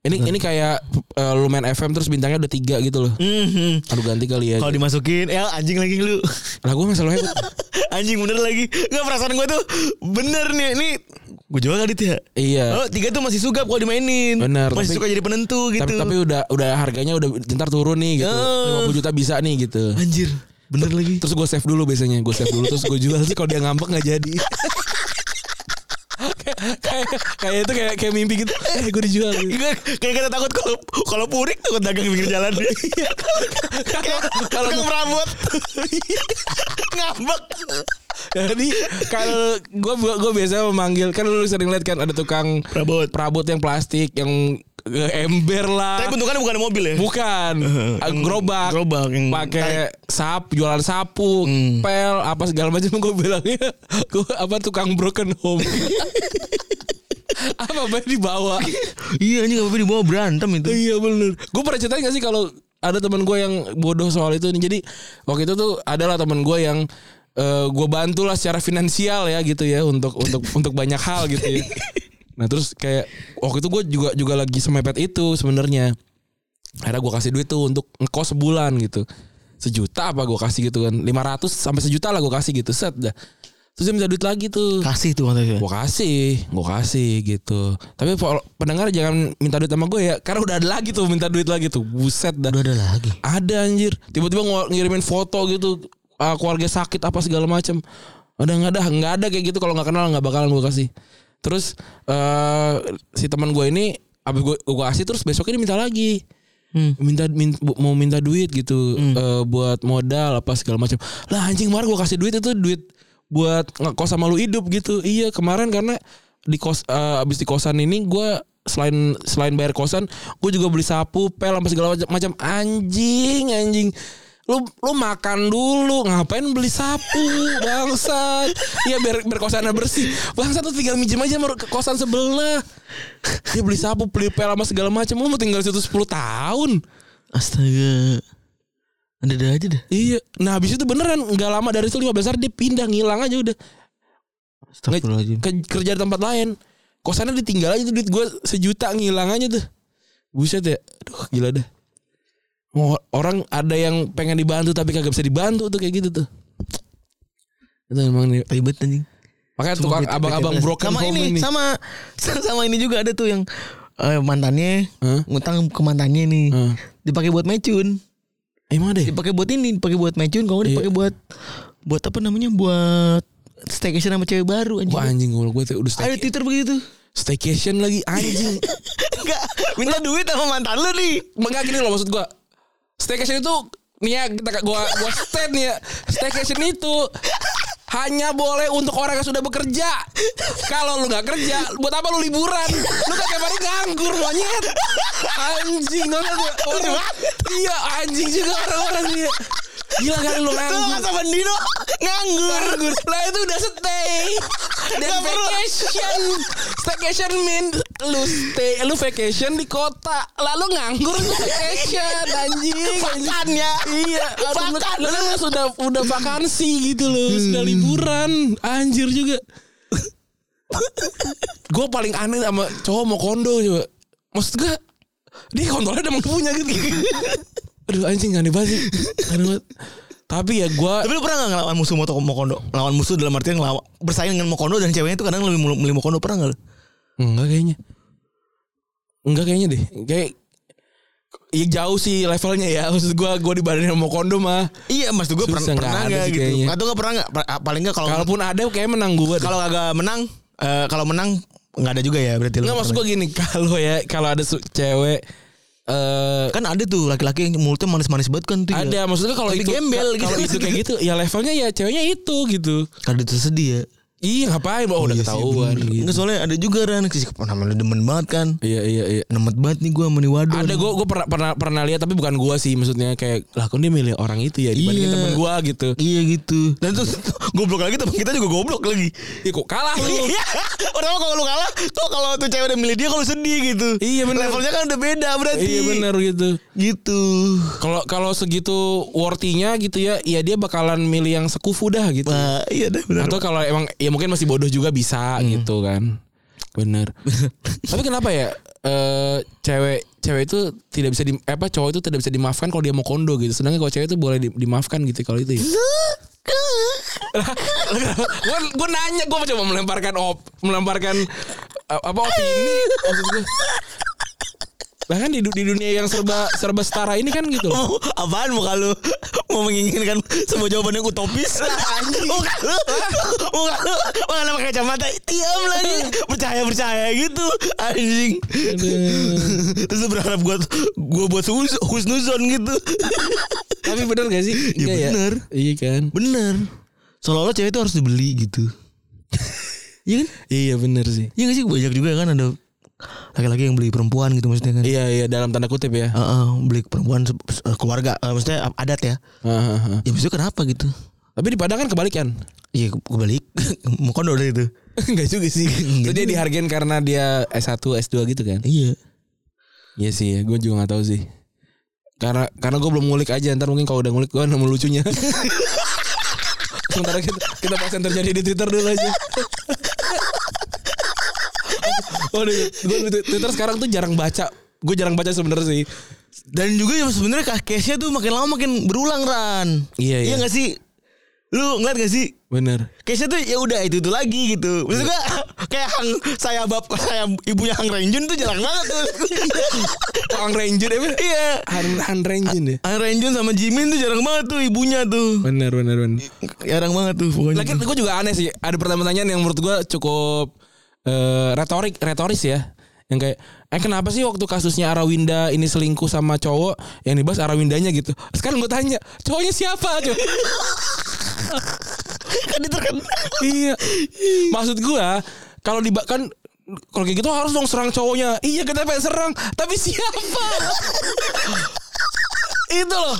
Ini ini kayak eh, lumayan FM terus bintangnya udah tiga gitu loh. Mhm. Aduh ganti kali ya. Kalau dimasukin, el anjing lagi lu. Lah gue selalu hebat. Anjing bener lagi Gak perasaan gue tuh Bener nih Ini Gue jual kali ya iya. Oh tiga tuh masih suka kalau dimainin Bener, Masih tapi- suka jadi penentu gitu Tapi, tapi udah udah harganya udah ntar turun nih gitu. 50 Eh. juta bisa nih gitu. Anjir Bener lagi Terus gue save dulu biasanya, gue save dulu terus gue jual sih kalau dia ngambek nggak jadi. kayak kayak itu kayak kayak mimpi gitu. Eh gue dijual. Gitu. Gue kayak kita takut kalau kalau purik takut dagang di pinggir jalan. kalau tukang perabot ngambek. Jadi kalau gue gue biasa memanggil kan lu sering lihat kan ada tukang Perabot. perabot yang plastik yang eh, ember Tapi lah. bentukannya bukan mobil ya. Bukan eh, gerobak. Gerobak yang pakai sap jualan sapu, pel apa segala macam gue bilangnya gue apa tukang broken home. apa baik dibawa iya anjing apa dibawa berantem itu. iya bener gue pernah ceritain gak sih kalau ada teman gue yang bodoh soal itu nih jadi waktu itu tuh adalah teman gue yang eh, gue bantu lah secara finansial ya gitu ya untuk untuk untuk banyak hal gitu ya nah terus kayak waktu itu gue juga juga lagi semepet itu sebenarnya akhirnya gue kasih duit tuh untuk ngekos sebulan gitu sejuta apa gue kasih gitu kan 500 sampai sejuta lah gue kasih gitu set dah terus dia minta duit lagi tuh Kasih tuh maksudnya. gue kasih gue kasih gitu tapi fol- pendengar jangan minta duit sama gue ya karena udah ada lagi tuh minta duit lagi tuh buset dah Udah ada lagi. ada anjir tiba-tiba ngel- ngirimin foto gitu ah, keluarga sakit apa segala macem ada nggak ada nggak ada kayak gitu kalau nggak kenal nggak bakalan gue kasih terus eh si teman gue ini abis gue gue kasih terus besoknya dia minta lagi Hmm. minta min- bu- mau minta duit gitu eh, buat modal apa segala macam lah anjing kemarin gue kasih duit itu duit buat ngekos sama lu hidup gitu iya kemarin karena di kos eh, abis di kosan ini gue selain selain bayar kosan gue juga beli sapu pel apa segala macam- macam anjing anjing lu lu makan dulu ngapain beli sapu bangsat iya biar biar kosannya bersih bangsat tuh tinggal minjem aja sama ke kosan sebelah dia beli sapu beli pel sama segala macam lu mau tinggal di situ 10 tahun Astaga. Ada ada aja dah. iya nah habis itu beneran nggak lama dari itu 15 hari dia pindah ngilang aja udah Astagfirullahaladzim. ke, kerja di tempat lain kosannya ditinggal aja tuh duit gue sejuta ngilang aja tuh buset ya aduh gila dah Mau orang ada yang pengen dibantu tapi kagak bisa dibantu tuh kayak gitu tuh itu emang nih Ribet anjing. makanya tukang Bete- abang-abang bete banget. broken gitu, sama home ini, ini, sama sama ini juga ada tuh yang eh, mantannya Hah? ngutang ke mantannya nih. Hah. Dipakai buat mecun. emang ya? deh Dipakai buat ini, dipakai buat mecun, kalau nggak Iya. dipakai buat buat apa namanya? Buat staycation sama cewek baru Wah anjing anjing. gue gue tuh udah Ada stay, Twitter begitu. staycation lagi anjing Enggak, minta duit sama mantan lu nih. Enggak gini loh maksud gua. Staycation itu nih ya kita gua gua stand nih ya. Staycation itu hanya boleh untuk orang yang sudah bekerja. Kalau lu nggak kerja, buat apa lu liburan? Lu kan tiap hari nganggur monyet. Anjing orang orang iya anjing juga orang-orang dia. Gila kali lu Lu nganggur. nggak sama Dino nganggur. Nganggur. Lah itu udah stay Dan Nggak perlu. vacation Staycation mean Lu stay Lu vacation di kota Lalu nganggur lu vacation Anjing Makan ya. Iya Lalu Makan. lu, lu sudah Udah vakansi gitu loh Hmm. Sudah liburan Anjir juga Gue paling aneh sama cowok mau kondo coba Maksud gue Dia kontolnya udah punya gitu Aduh anjing aneh banget sih Aneh banget tapi ya gue Tapi lu pernah gak ngelawan musuh moto Mokondo? Lawan musuh dalam artian ngelawan bersaing dengan Mokondo dan ceweknya itu kadang lebih mulu- milih Mokondo pernah gak lu? Enggak kayaknya. Enggak kayaknya deh. Kayak ya jauh sih levelnya ya. Maksud gua gua dibandingin sama kondom mah. Iya, maksud gue pernah Susah, nggak pernah ada gak sih gitu. kayaknya. Atau gak pernah gak? Paling gak kalau Kalaupun ada kayak menang gua deh. kalau agak menang eh, kalau menang nggak ada juga ya berarti lu. Enggak maksud gua gini, kalau ya kalau ada su- cewek eh kan ada tuh laki-laki yang mulutnya manis-manis banget kan tuh. ya. ada maksudnya kalau Tapi itu gembel kalau gitu. itu kayak gitu ya levelnya ya ceweknya itu gitu. Ada tuh sedih ya. Iya ngapain oh, udah Iya sih, ketahuan bener. gitu. Nggak, soalnya ada juga Ran sih namanya lu demen banget kan. Iya iya iya. Nemet banget nih gue meni waduh. Ada gue gue pernah pernah pernah lihat tapi bukan gua sih maksudnya kayak lah kok dia milih orang itu ya dibandingin Iya. temen gua gitu. Iya gitu. Dan terus goblok lagi teman kita juga goblok lagi. Ya kok kalah lu. Iya. Padahal kalau lu kalah, kok kalau tuh cewek udah milih dia kalau sedih gitu. Iya, bener. Levelnya kan udah beda berarti. iya benar gitu. Gitu. Kalau kalau segitu worthinya gitu ya, ya dia bakalan milih yang sekufu dah gitu. Nah, iya dah benar. Hmm. Atau kalau emang ya mungkin masih bodoh juga bisa gitu kan. Bener. Tapi kenapa ya eh, cewek cewek itu tidak bisa di apa cowok itu tidak bisa dimaafkan kalau dia mau kondo gitu. Sedangkan kalau cewek itu boleh di- dimaafkan gitu kalau itu ya. gue gue nanya gue coba melemparkan op melemparkan eh, apa opini maksud gue. Lah kan di, du- di dunia yang serba serba setara ini kan gitu. Mau- Oh, apaan muka lu mau menginginkan sebuah jawaban yang utopis muka lu muka lu muka lu pakai kacamata diam lagi percaya percaya gitu anjing terus lu berharap gua gua buat hus, husnuzon gitu Tapi bener gak sih? Ya Enggak bener. Iya kan? bener seolah-olah cewek itu harus dibeli gitu iya kan Iya bener sih. iya gak sih banyak juga kan ada laki-laki yang beli perempuan gitu maksudnya kan Iya iya dalam tanda kutip ya. Heeh, beli perempuan se- se- keluarga eh, maksudnya adat ya Heeh, heeh. ya maksudnya kenapa gitu Tapi di Padang kan kebalikan. Iya kebalik Mau kondor dari itu Enggak juga sih. Itu Nggak dia juga. dihargain karena dia S1, S2 gitu kan. Iya. Iya sih, ya. gue juga gak tahu sih. Karena karena gue belum ngulik aja, ntar mungkin kalau udah ngulik gue nemu lucunya. Sementara kita, kita bahas yang terjadi di Twitter dulu aja. Oh, gue Twitter sekarang tuh jarang baca. Gue jarang baca sebenernya sih. Dan juga ya sebenarnya kah- case-nya tuh makin lama makin berulang Ran. Iya, iya. Iya gak sih? Lu ngeliat gak sih? Bener. Case-nya tuh ya udah itu itu lagi gitu. Maksud gua kayak hang saya bab saya ibunya Hang Renjun tuh jarang banget tuh. Hang Ranger ya? iya. Han, Han Ranger deh. Hang Renjun sama Jimin tuh jarang banget tuh ibunya tuh. Bener, bener, bener. Jarang banget tuh pokoknya. Lagi gue juga aneh sih. Ada pertanyaan-pertanyaan yang menurut gue cukup eh, retorik, retoris ya. Yang kayak, eh kenapa sih waktu kasusnya Arawinda ini selingkuh sama cowok yang dibahas Arawindanya gitu? Sekarang gue tanya, cowoknya siapa? Coy? kan diterken. iya. Maksud gue, kalau dibakan kalau kayak gitu harus dong serang cowoknya. Iya kita pengen serang, tapi siapa? Itu loh.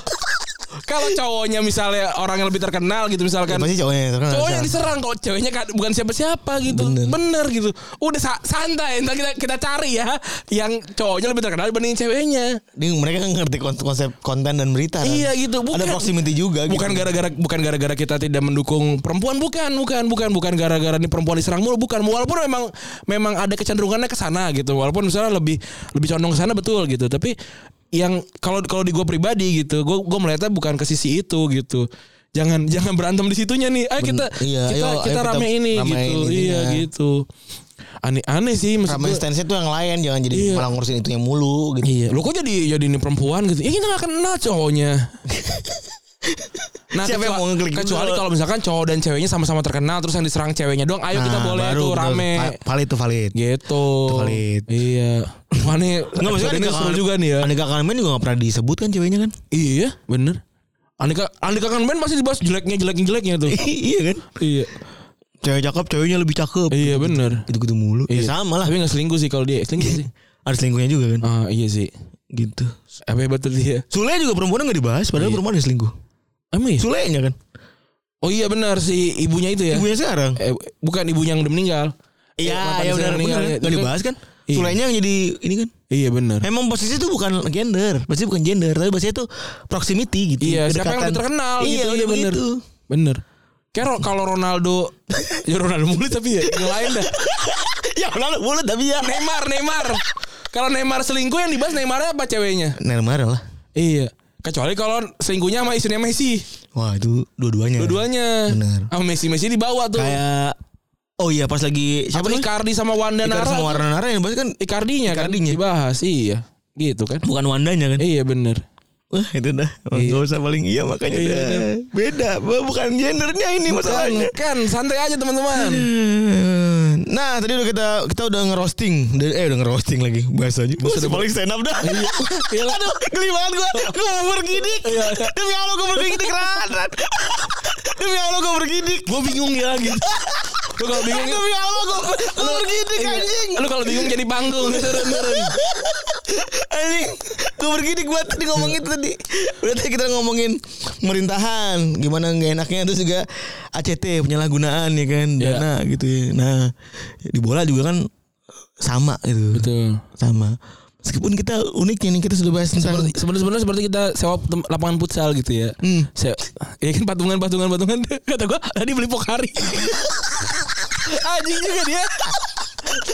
Kalau cowoknya misalnya orang yang lebih terkenal gitu misalkan. Ya, Pasti cowoknya Iya, yang terkenal. cowoknya diserang kalau ceweknya kan bukan siapa-siapa gitu bener. Bener. gitu udah sa- santai ntar kita kita cari ya yang cowoknya lebih terkenal dibandingin ceweknya Dia- mereka kan ngerti kon- konsep konten dan berita. kan? Iya, gitu. Bukan- Ada proximity juga gitu. bukan gara-gara bukan gara-gara kita tidak mendukung perempuan bukan bukan bukan bukan gara-gara nih perempuan diserang mulu bukan walaupun memang memang ada kecenderungannya ke sana gitu walaupun misalnya lebih lebih condong ke sana betul gitu tapi yang kalau kalau di gue pribadi gitu gue gue melihatnya bukan ke sisi itu gitu jangan jangan berantem di situnya nih ayo kita iya, kita ayo- kita ayo kita rame ini ramein gitu ininya. iya gitu aneh aneh sih maksud Ramen gua. stance tuh yang lain jangan jadi malah ngurusin itunya mulu gitu. Iya, lu kok jadi jadi ini perempuan gitu? Ya kita gak kenal cowoknya. Nah, Siapa kecua- yang mau ngeklik dulu? kecuali kalau misalkan cowok dan ceweknya sama-sama terkenal terus yang diserang ceweknya doang, ayo Iya, kita Nah, boleh baru tuh betul. rame. Va- valid tuh valid. gitu. valid. Iya. Wah, nih Enggak episode maksudnya kan? ini Andika seru Kang- juga nih ya. Andika Kang Men juga gak pernah disebut kan ceweknya kan? Iya, bener. Andika Andika kan main pasti dibahas jeleknya jeleknya jeleknya tuh. iya kan? iya. Cewek cakep, ceweknya lebih cakep. Iya, bener. Gitu-gitu mulu. Ya Iya. sama lah. Tapi gak selingkuh sih kalau dia selingkuh sih. Ada selingkuhnya juga kan? Ah, iya sih. Gitu. Apa hebat tuh dia? Sule juga perempuan gak dibahas Iya. padahal perempuan ada selingkuh. Emang ya? Sulenya kan? Oh iya benar si ibunya itu ya. Ibunya sekarang. eh, bukan ibunya yang udah meninggal. Eh, mantan Iya, iya istri yang benar meninggal, benar. ya. Gak dibahas kan? Iya. Sulenya yang jadi ini kan? Iya benar. Emang posisi itu bukan gender, pasti bukan gender, tapi pasti itu proximity gitu. Iya, siapa yang kedekatan. udah terkenal iya, gitu. Iya, Iya benar. begitu. Benar. Kayak ro- kalau Ronaldo ya Ronaldo mulu tapi ya yang lain dah. ya lalu mulut tapi ya. Neymar, Neymar. Kalau Neymar selingkuh yang dibahas Neymarnya apa ceweknya? Neymar lah. Iya. Kecuali kalau selingkuhnya sama istrinya Messi, Wah itu dua-duanya. dua-duanya. Benar. Sama Messi, Messi dibawa tuh. Kayak oh iya pas lagi Apa siapa nih? Icardi sama Wanda Icardi sama Nara? Warna Nara yang berarti kan Icardinya kan Icardinya. dibahas, iya. Gitu kan. bukan Wandanya kan? Iya bener Wah itu dah Emang nggak usah paling iya makanya Iya, dah. iya. beda Bu- bukan gendernya ini Kan, masalahnya. kan santai aja teman-teman. Nah tadi udah kita kita udah ngerosting Dan- eh udah ngerosting lagi bahasanya. Gue udah Iya. paling stand up dah. Iya Aduh geli banget gue. Gue mau bergidik. Demi Allah gue bergidik Ran. Demi Allah gue bergidik. gue bingung ya gitu lu kalau bingung Iya. Demi Allah gue gue bergidik anjing. lu kalau bingung jadi panggung turun turun Anjing, gue bergidik banget tadi ngomong itu tadi. Udah tadi kita ngomongin pemerintahan, gimana nggak enaknya terus juga ACT penyalahgunaan ya kan Iya. dana gitu ya. Nah, di bola juga kan sama gitu. betul Sama. Meskipun kita uniknya nih kita sudah bahas tentang seperti sebenarnya sebenarnya seperti kita sewa tem- lapangan futsal gitu ya Hmm. Se- ya kan patungan patungan patungan kata gue tadi beli pokari anjing juga dia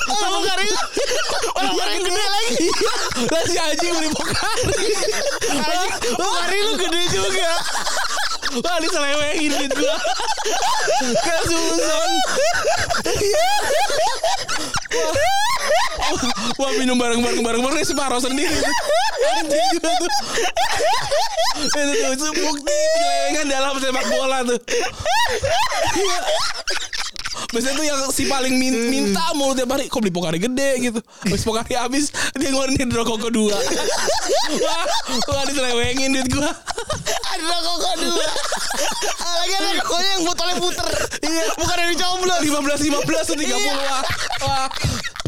orang karir. Orang karir gede lagi. Iya, lah si anjing beli pokari Anjing, Orang karir lu gede juga. wah gitu. diselewengin duit gue kesusun Iya. Wah minum bareng bareng bareng bareng separuh sendiri. Anjing juga tuh. Itu tuh itu bukti penyelewengan dalam sepak bola tuh. Iya. Biasanya tuh yang si paling Hmm. min- minta mulu tiap hari Kok beli pokari gede gitu Habis pokari habis Dia ngeluarin di rokok kedua Wah Wah diselewengin duit gua Ada rokok kedua. Lagi ada rokoknya yang botolnya puter. Iya, bukan yang Iya. dicoblos. 15 15 tuh 30 wah. Wah.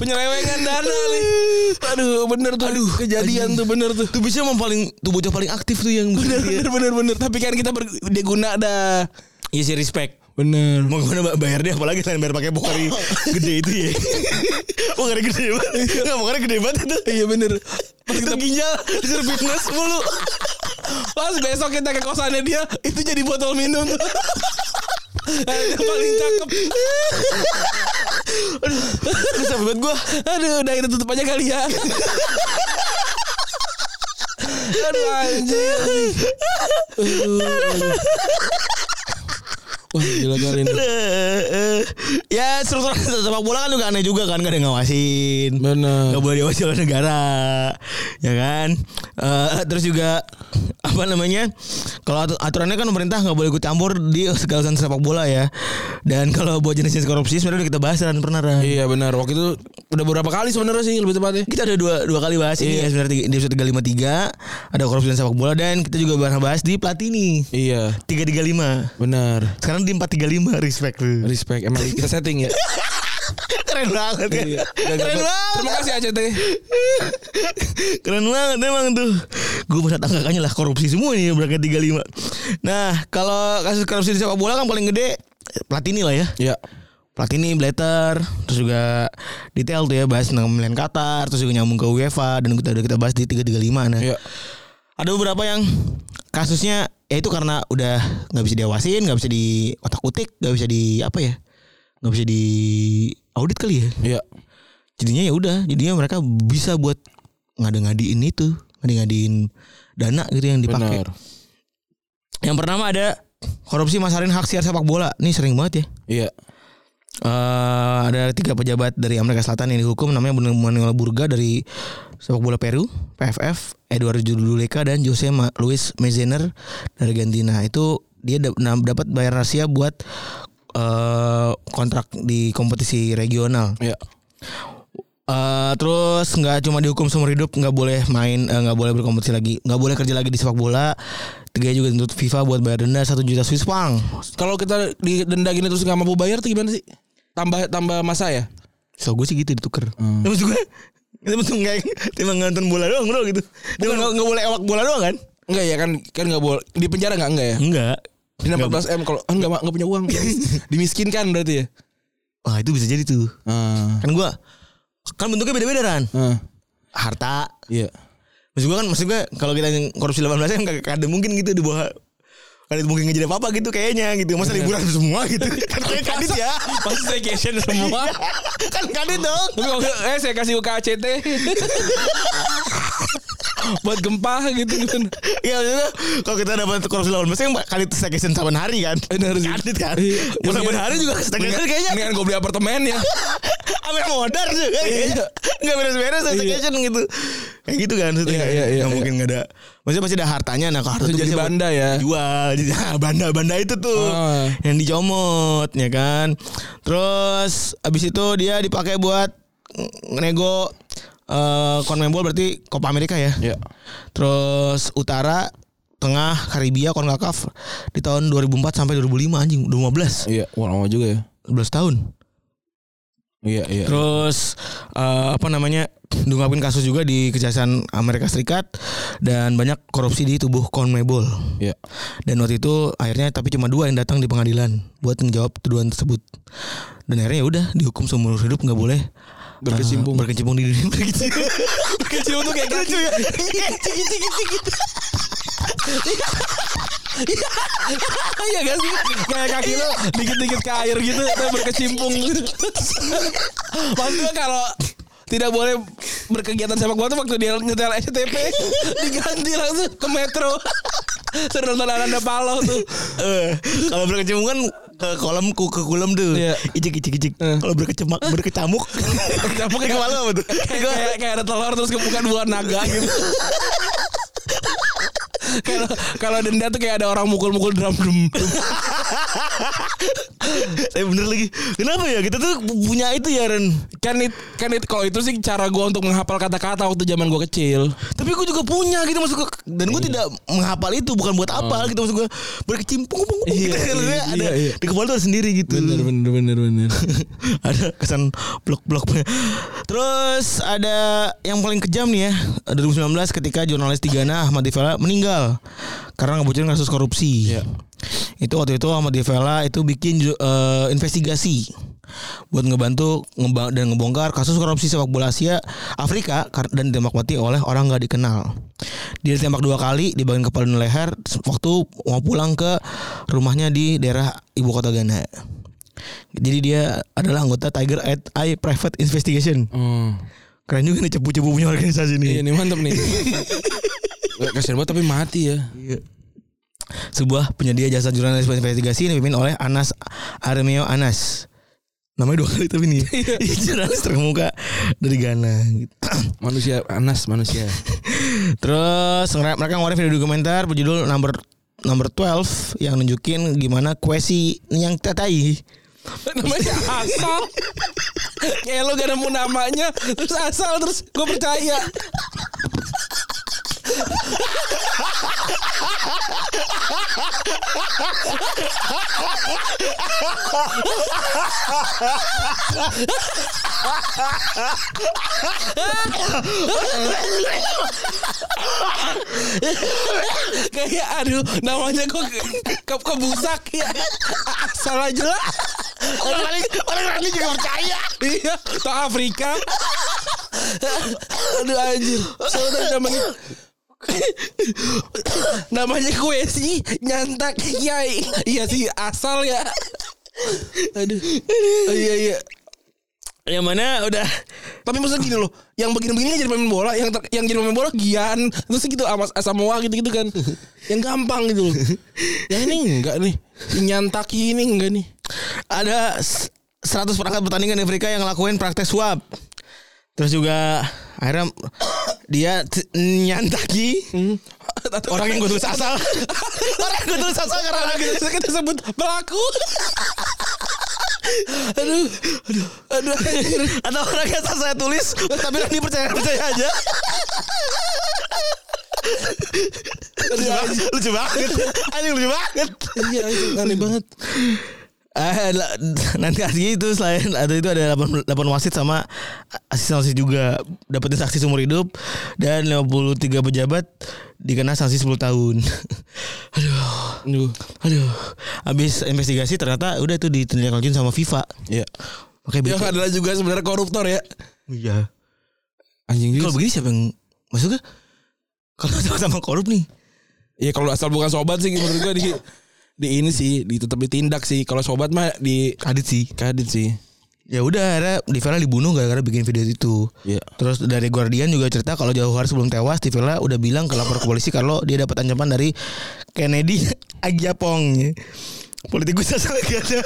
Penyelewengan dana nih Aduh bener tuh Aduh kejadian tuh bener tuh Tuh biasanya emang paling tuh bocah paling aktif tuh yang Bener bener bener bener. Tapi kan kita ber, dia guna dah. Iya sih respect. Bener. Mau gimana ba- bayar dia apalagi selain bayar pakai bokari gede itu ya. bokari gede banget. Enggak bokari gede banget itu. Iya bener. Pas Itu kita ginjal disuruh fitness mulu. Pas besok kita ke kosannya dia Itu jadi botol minum Yang paling cakep Terus sampai buat gua Aduh udah kita tutup aja kali ya Aduh anjir Aduh, aduh. Wah gila kali ini Eh, eh. Ya struktur sepak bola kan juga aneh juga kan Gak ada yang ngawasin Bener Gak boleh diawasi oleh negara Ya kan Eh, Terus juga Apa namanya Kalau atu- aturannya kan pemerintah gak boleh ikut campur Di segala urusan sepak bola ya Dan kalau buat jenis-jenis korupsi sebenarnya udah kita bahas kan pernah Ran. Iya benar waktu itu udah beberapa kali sebenarnya sih lebih tepatnya kita ada dua dua kali bahas ini Iya. ya sebenarnya tiga- di episode 353 ada korupsi dan sepak bola dan kita juga pernah bahas di Platini Iya 335 benar sekarang di 435 respect tuh. Respect emang kita setting ya keren banget kan? Iya. Udah, keren gabut. banget Terima kasih ya. ACT Keren banget emang tuh Gue pernah angkanya lah korupsi semua nih berangkat 35 Nah kalau kasus korupsi di sepak bola kan paling gede Platini lah ya Ya Platini, Blatter Terus juga detail tuh ya bahas tentang pemilihan Qatar Terus juga nyambung ke UEFA Dan kita udah kita bahas di 335 nah. Iya Ada beberapa yang kasusnya ya itu karena udah nggak bisa diawasin, nggak bisa di otak utik, nggak bisa di apa ya, nggak bisa di audit kali ya Iya jadinya ya udah jadinya mereka bisa buat ngada-ngadiin itu ngada-ngadiin dana gitu yang dipakai Benar yang pertama ada korupsi masarin hak siar sepak bola nih sering banget ya Iya Eh, ada tiga pejabat dari Amerika Selatan yang dihukum namanya Bruno Manuel Burga dari sepak bola Peru PFF Eduardo Juleka dan Jose Ma- Luis Mezener dari Argentina itu dia dap- na- dapat bayar rahasia buat eh, kontrak di kompetisi regional Iya Eh, terus nggak cuma dihukum seumur hidup nggak boleh main eh, nggak boleh berkompetisi lagi nggak boleh kerja lagi di sepak bola tiga juga dituntut FIFA buat bayar denda satu juta Swiss franc Kalau kita didenda gini terus nggak mampu bayar tuh gimana sih? Tambah tambah masa ya? so gue sih gitu dituker ya, maksud gue itu maksud nggak dia emang nonton bola doang bro gitu dia nggak nggak boleh ewak bola doang kan Enggak ya kan kan nggak boleh di penjara nggak enggak ya? enggak Di 14 m kalau ah, enggak enggak punya uang. Iya. Dimiskinkan berarti ya? wah itu bisa jadi tuh Ah. kan gue kan bentuknya beda-beda kan Ah, harta Iya. maksud gue kan maksud gue kalau kita yang korupsi 18 kan nggak nggak ada mungkin gitu di bawah Kadit mungkin nggak jadi apa-apa gitu kayaknya gitu Masa liburan semua gitu Kan kayak kadit ya Pasti staycation semua. kan kadit dong Tapi kalau eh saya kasih UKCT. Buat gempa gitu kan. Iya maksudnya kalau kita dapat korupsi lawan mesin kali itu staycation saban hari kan. Benar sih. Kadit kan. Iya. Mau saban hari juga staycation kayaknya. Mendingan gue beli apartemen ya. Ambil modar juga Iya. kayaknya. Enggak beres-beres staycation gitu. Kayak gitu kan maksudnya. Iya, iya, iya, Nggak iya. mungkin enggak ada. Maksudnya pasti ada hartanya nah kalau harta Terus tuh jadi biasanya buat banda ya. Jual jadi ah, banda-banda itu tuh Oh. yang dicomot ya kan. Terus abis itu dia dipakai buat nego eh Conmebol berarti Copa America ya. Iya. Terus utara, tengah, Karibia, Konkakaf di tahun 2004 sampai 2005 anjing, udah 15, Iya, wah lama juga ya. 15 tahun. Iya, iya. Terus eh, apa namanya? diungkapin kasus juga di Kejaksaan Amerika Serikat dan banyak korupsi di tubuh CONMEBOL. Iya. Dan waktu itu akhirnya tapi cuma dua yang datang di pengadilan buat menjawab tuduhan tersebut. Dan akhirnya ya udah dihukum seumur hidup nggak boleh eh, Berkecimpung. berkecimpung di dunia berkecimpung. Kecil tuh kayak Lucu ya. Ciki-ciki-ciki. Iya gak sih? Kayak kaki lo dikit-dikit ke air gitu tapi berkecimpung. Maksudnya kalau tidak boleh berkegiatan sepak bola tuh waktu dia nyetel SCTV diganti langsung ke metro. Suruh nonton Ananda Paloh tuh. Eh, kalau berkecamuk kan ke kolam ku ke kolam tuh. Iya. Icik icik icik. Eh. Kalau berkecamuk berkecamuk. Berkecamuk Kayak kepala apa tuh? Kayak, kayak, kayak ada telur terus kebuka dua naga gitu. Kalau kalau denda tuh kayak ada orang mukul-mukul drum drum. Saya bener lagi. Kenapa ya kita tuh punya itu ya Ren? Kan it, kan it, kalau itu sih cara gua untuk menghafal kata-kata waktu zaman gua kecil. Tapi gue juga punya gitu maksud gue. Dan Iya. gue tidak menghafal itu bukan buat apa gitu maksud gue. Berkecimpung kumpung kumpung Hmm. Iya, gitu. iya, Maksudnya ada iya, iya. di kepala tuh ada sendiri gitu. Bener bener bener bener. ada kesan blok-bloknya. Terus ada yang paling kejam nih ya 2019 ketika jurnalis Tigana Ahmad Divela meninggal karena ngebocorin kasus korupsi. Iya. itu waktu itu sama Devela itu bikin ju- eh, investigasi buat ngebantu ngeba- dan ngebongkar kasus korupsi sepak bola Asia Afrika kar- dan ditembak mati oleh orang nggak dikenal. Dia ditembak dua kali di bagian kepala dan leher waktu mau pulang ke rumahnya di daerah ibu kota Ghana. Jadi dia adalah anggota Tiger Eye Private Investigation. Hmm. Keren juga nih cepu-cepu punya organisasi Iya nih. ini mantep nih. Gak Eh, kasihan banget tapi mati ya. sebuah penyedia jasa jurnalis investigasi yang dipimpin oleh Anas Armeo Anas. Namanya dua kali tapi nih. jurnalis terkemuka dari Ghana gitu. Manusia Anas manusia. Terus ngera- mereka ngeluarin video dokumenter berjudul Number Number 12 yang nunjukin gimana Kwesi yang tetai. namanya asal. Kayak lo gak nemu namanya Terus asal Terus gue percaya Kayak aduh Namanya kok ke Kebusak ya Asal aja lah Orang lain orang lain juga percaya. Iya, to Afrika. Aduh anjir. Saudara namanya namanya kue sih nyantak kiai. Iya sih asal ya. Aduh. Oh, iya iya. Yang mana udah Tapi maksudnya gini loh Yang begini-begini jadi pemain bola Yang ter- yang jadi pemain bola Gian Terus gitu Amas Asamoah gitu-gitu kan Yang gampang gitu loh Yang ini enggak nih Si Nyantaki ini enggak nih Ada s- 100 perangkat pertandingan di Afrika yang ngelakuin praktek suap. Terus juga akhirnya dia t- nyantaki orang yang gue tulis asal orang yang gue tulis asal karena lagi Terus kita sebut pelaku. aduh, aduh, aduh. anjir. atau orang yang asal saya tulis tapi Randy percaya percaya aja lucu banget lucu banget anjing lucu banget Iya, anjir, aneh banget. Eh, la- nanti asli itu selain ada itu ada 8, 8 wasit sama asisten wasit juga dapetin sanksi seumur hidup dan 53 pejabat dikena sanksi 10 tahun. aduh, Aduh. aduh. Habis investigasi ternyata udah itu ditindak lanjut sama FIFA. Iya. kan? Pakai Yang BT. adalah juga sebenarnya koruptor ya. Iya. Anjing Kalau begini siapa yang maksudnya kalau sama-sama korup nih. Iya, kalau asal bukan sobat sih menurut gua di di ini sih, di tetap ditindak sih. Kalau sobat mah di Kadit sih. kadit sih. Ya udah akhirnya Divela dibunuh gara-gara bikin video itu. Iya. Terus dari Guardian juga cerita kalau jauh hari sebelum tewas Tivela udah bilang ke lapor ke polisi kalau dia dapat ancaman dari Kennedy Agyapong. Politikus asal Ghana.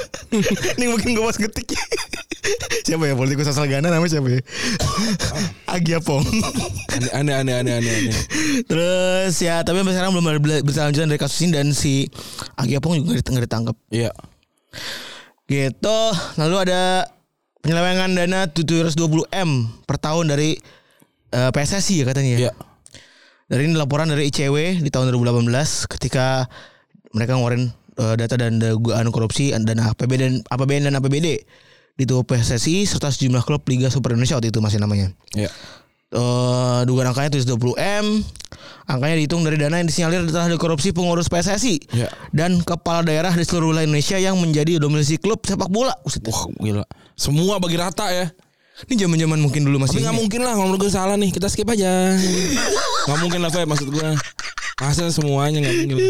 Ini mungkin gue pas ketik. siapa ya politikus asal Ghana namanya siapa ya? Agyapong. Aneh aneh aneh aneh aneh. aneh. Terus ya tapi sampai sekarang belum ada bela- berita lanjutan dari kasus ini dan si Agyapong juga nggak dit- nggak ditangkap. Iya. Gitu. Lalu ada penyelewengan dana 720M per tahun dari eh, PSSI ya katanya. Iya. ya Dari ini laporan dari ICW di tahun 2018 ketika mereka ngeluarin eh, data dan dugaan korupsi dan APB dan APBN dan APBD di tubuh PSSI serta sejumlah klub Liga Super Indonesia waktu itu masih namanya. Iya. Eh dugaan angkanya 720 M. Angkanya dihitung dari dana yang disinyalir telah dikorupsi pengurus PSSI Iya. dan kepala daerah di seluruh wilayah Indonesia yang menjadi dominasi klub sepak bola. Buset. Wah, gila. Semua bagi rata ya. Ini zaman-zaman mungkin dulu Tapi masih nggak ini. mungkin lah kalau menurut gue salah nih kita skip aja. nggak mungkin lah Feb maksud gue. Masa semuanya nggak mungkin. lah.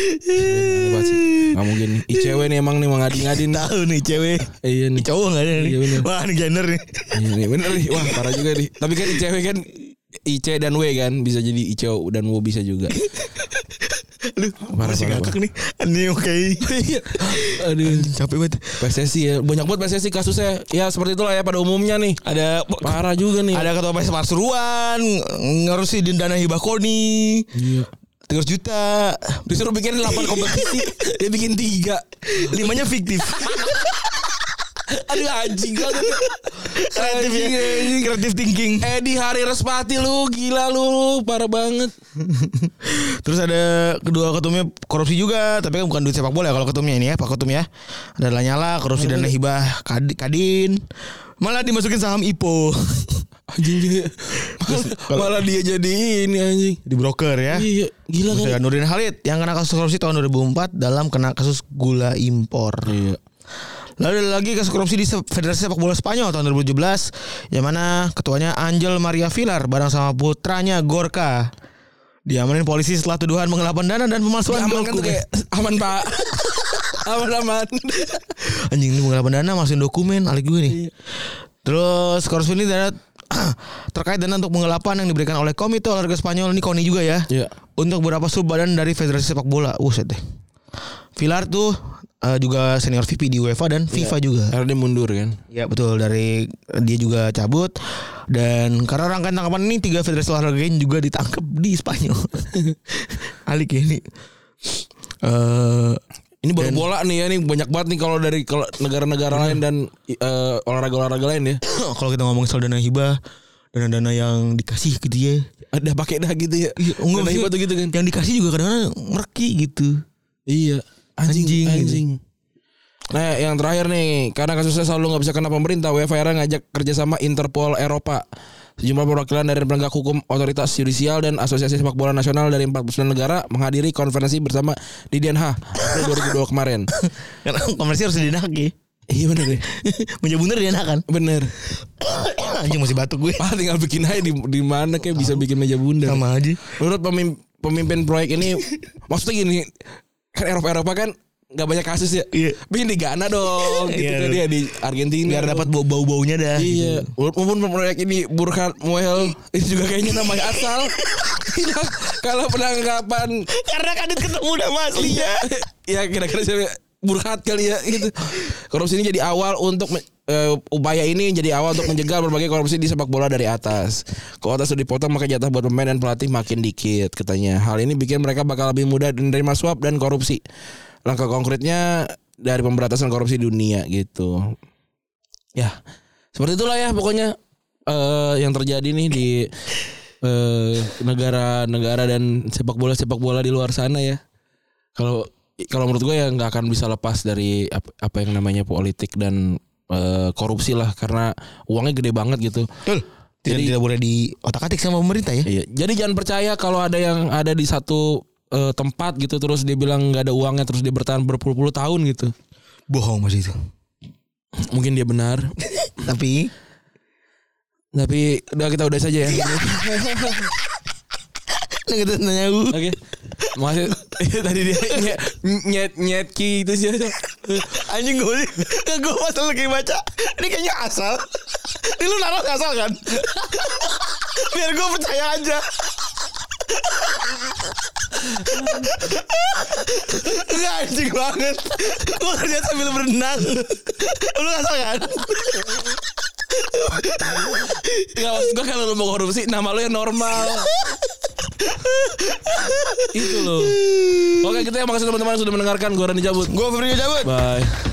Aneh banget sih. Nggak mungkin nih. ICW nih emang nih mengadi-ngadin. tahu nih cewek. Eh, Iya nih. Cowok enggak ada nih. Iya, bener. Wah, ini gender nih. Iya nih bener nih. Wah parah juga nih. Tapi kan ICW kan IC dan W kan bisa jadi ICO dan W bisa juga. Lu Parah, masih parah, ngakak nih. Ini oke. Iya. Aduh. Capek banget. PSSI ya banyak banget PSSI kasusnya ya seperti itulah ya pada umumnya nih Ada parah juga nih ada ketua PS Pasuruan ngurusi dana hibah koni. Iya. 300 juta. disuruh bikin 8 kompetisi dia bikin 3 Limanya fiktif. aduh anjing banget Kreatif ya. Anjing, anjing. Kreatif thinking. Edi Hari Respati lu gila lu parah banget. Terus ada kedua ketumnya korupsi juga, tapi kan bukan duit sepak bola ya kalau ketumnya ini ya, Pak Ketum ya. Ada Lanyala, korupsi dana hibah Kad- Kadin. Malah dimasukin saham IPO. Anjing dia malah, malah dia jadi ini anjing. di broker ya. Iya, gila kan. Terus ada Nurdin Halid yang kena kasus korupsi tahun 2004 dalam kena kasus gula impor. Iya. Lalu ada lagi kasus korupsi di Se- Federasi Sepak Bola Spanyol tahun 2017 yang mana ketuanya Angel Maria Villar bareng sama putranya Gorka. Diamanin polisi setelah tuduhan menggelapkan dana dan pemalsuan Aman kan tuh dokumen. kayak aman Pak. aman aman. Anjing ini menggelapkan dana masukin dokumen alik gue nih. Iya. Terus korupsi ini dana terkait dana untuk penggelapan yang diberikan oleh Komite Olahraga Spanyol ini Koni juga ya. Iya. Untuk beberapa sub badan dari Federasi Sepak Bola. Buset deh. Villar tuh eh, juga senior VP di Iya. UEFA dan FIFA juga. Karena dia mundur kan. Ya betul dari dia juga cabut dan karena rangkaian tangkapan ini tiga federasi olahraga lain juga ditangkap di Spanyol. Alik ya ini. Eh Ini baru bola nih ya, ini banyak banget nih kalau dari kalau negara-negara lain dan eh, olahraga-olahraga lain ya. kalau kita ngomongin soal dana hibah, dana-dana yang dikasih gitu ya. Ada pakai dah gitu ya. Iya, enggak, Dana maksudnya hibah tuh gitu kan. Yang dikasih juga kadang-kadang merki gitu. Iya. Anjing, Anjing, anjing. gitu. Nah, yang terakhir nih, karena kasusnya selalu nggak bisa kena pemerintah, UEFA era ngajak kerjasama Interpol Eropa. Sejumlah perwakilan dari penegak hukum, otoritas yudisial dan asosiasi sepak bola nasional dari 49 negara menghadiri konferensi bersama di Den Haag April 2002 kemarin. Karena komersi harus dinak ya. iya bener deh. Menjadi bener dinak kan. Bener. Anjing masih batuk gue. Pak Ah, tinggal bikin aja di, di mana kayak bisa bikin meja bundar. Sama aja. Menurut pemimpin, pemimpin proyek ini maksudnya gini kan Eropa Eropa kan nggak banyak kasus ya. Iya. Bikin di Ghana dong gitu kan Iya, betul. dia di Argentina. Biar dong. dapat bau- bau-baunya dah. gitu. Iya. Walaupun proyek ini Burkhardt Muel itu juga kayaknya namanya asal. Hilang kalau penangkapan Karena kan kadit ketemu nama aslinya. Iya. ya kira-kira saya Burkhardt kali ya gitu. Korupsi ini jadi awal untuk me- eh, upaya ini jadi awal untuk menjegal berbagai korupsi di sepak bola dari atas. Kalau atas sudah dipotong maka jatah buat pemain dan pelatih makin dikit katanya. Hal ini bikin mereka bakal lebih mudah menerima suap dan korupsi. Langkah konkretnya dari pemberantasan korupsi dunia gitu. Ya, seperti itulah ya pokoknya eh, yang terjadi nih di eh, negara-negara dan sepak bola sepak bola di luar sana ya kalau kalau menurut gue ya nggak akan bisa lepas dari ap- apa, yang namanya politik dan eh, korupsi lah karena uangnya gede banget gitu. Betul. Tidak, Jadi- tidak boleh di otak-atik sama pemerintah ya. Iya. Jadi jangan percaya kalau ada yang ada di satu eh, tempat gitu terus dia bilang nggak ada uangnya terus dia bertahan berpuluh-puluh tahun gitu. Bohong masih itu. Mungkin dia benar, Tapi tapi udah kita udah saja ya. Nah gitu nanya gue Oke. Makasih. Iya, Tadi dia nyet nyet nyet ki itu sih. Anjing gue sih. Gue pas lagi baca. Ini kayaknya asal. Ini lu naruh asal kan? Biar gue percaya aja. Ini anjing banget Gue kerja sambil berenang Lu asal kan? Enggak Iya, maksud gue kalau lu mau korupsi nama lu yang normal. itu loh. Oke, kita yang makasih gitu ya. teman-teman sudah mendengarkan. Gue Rani cabut. Gue Febrio cabut Bye.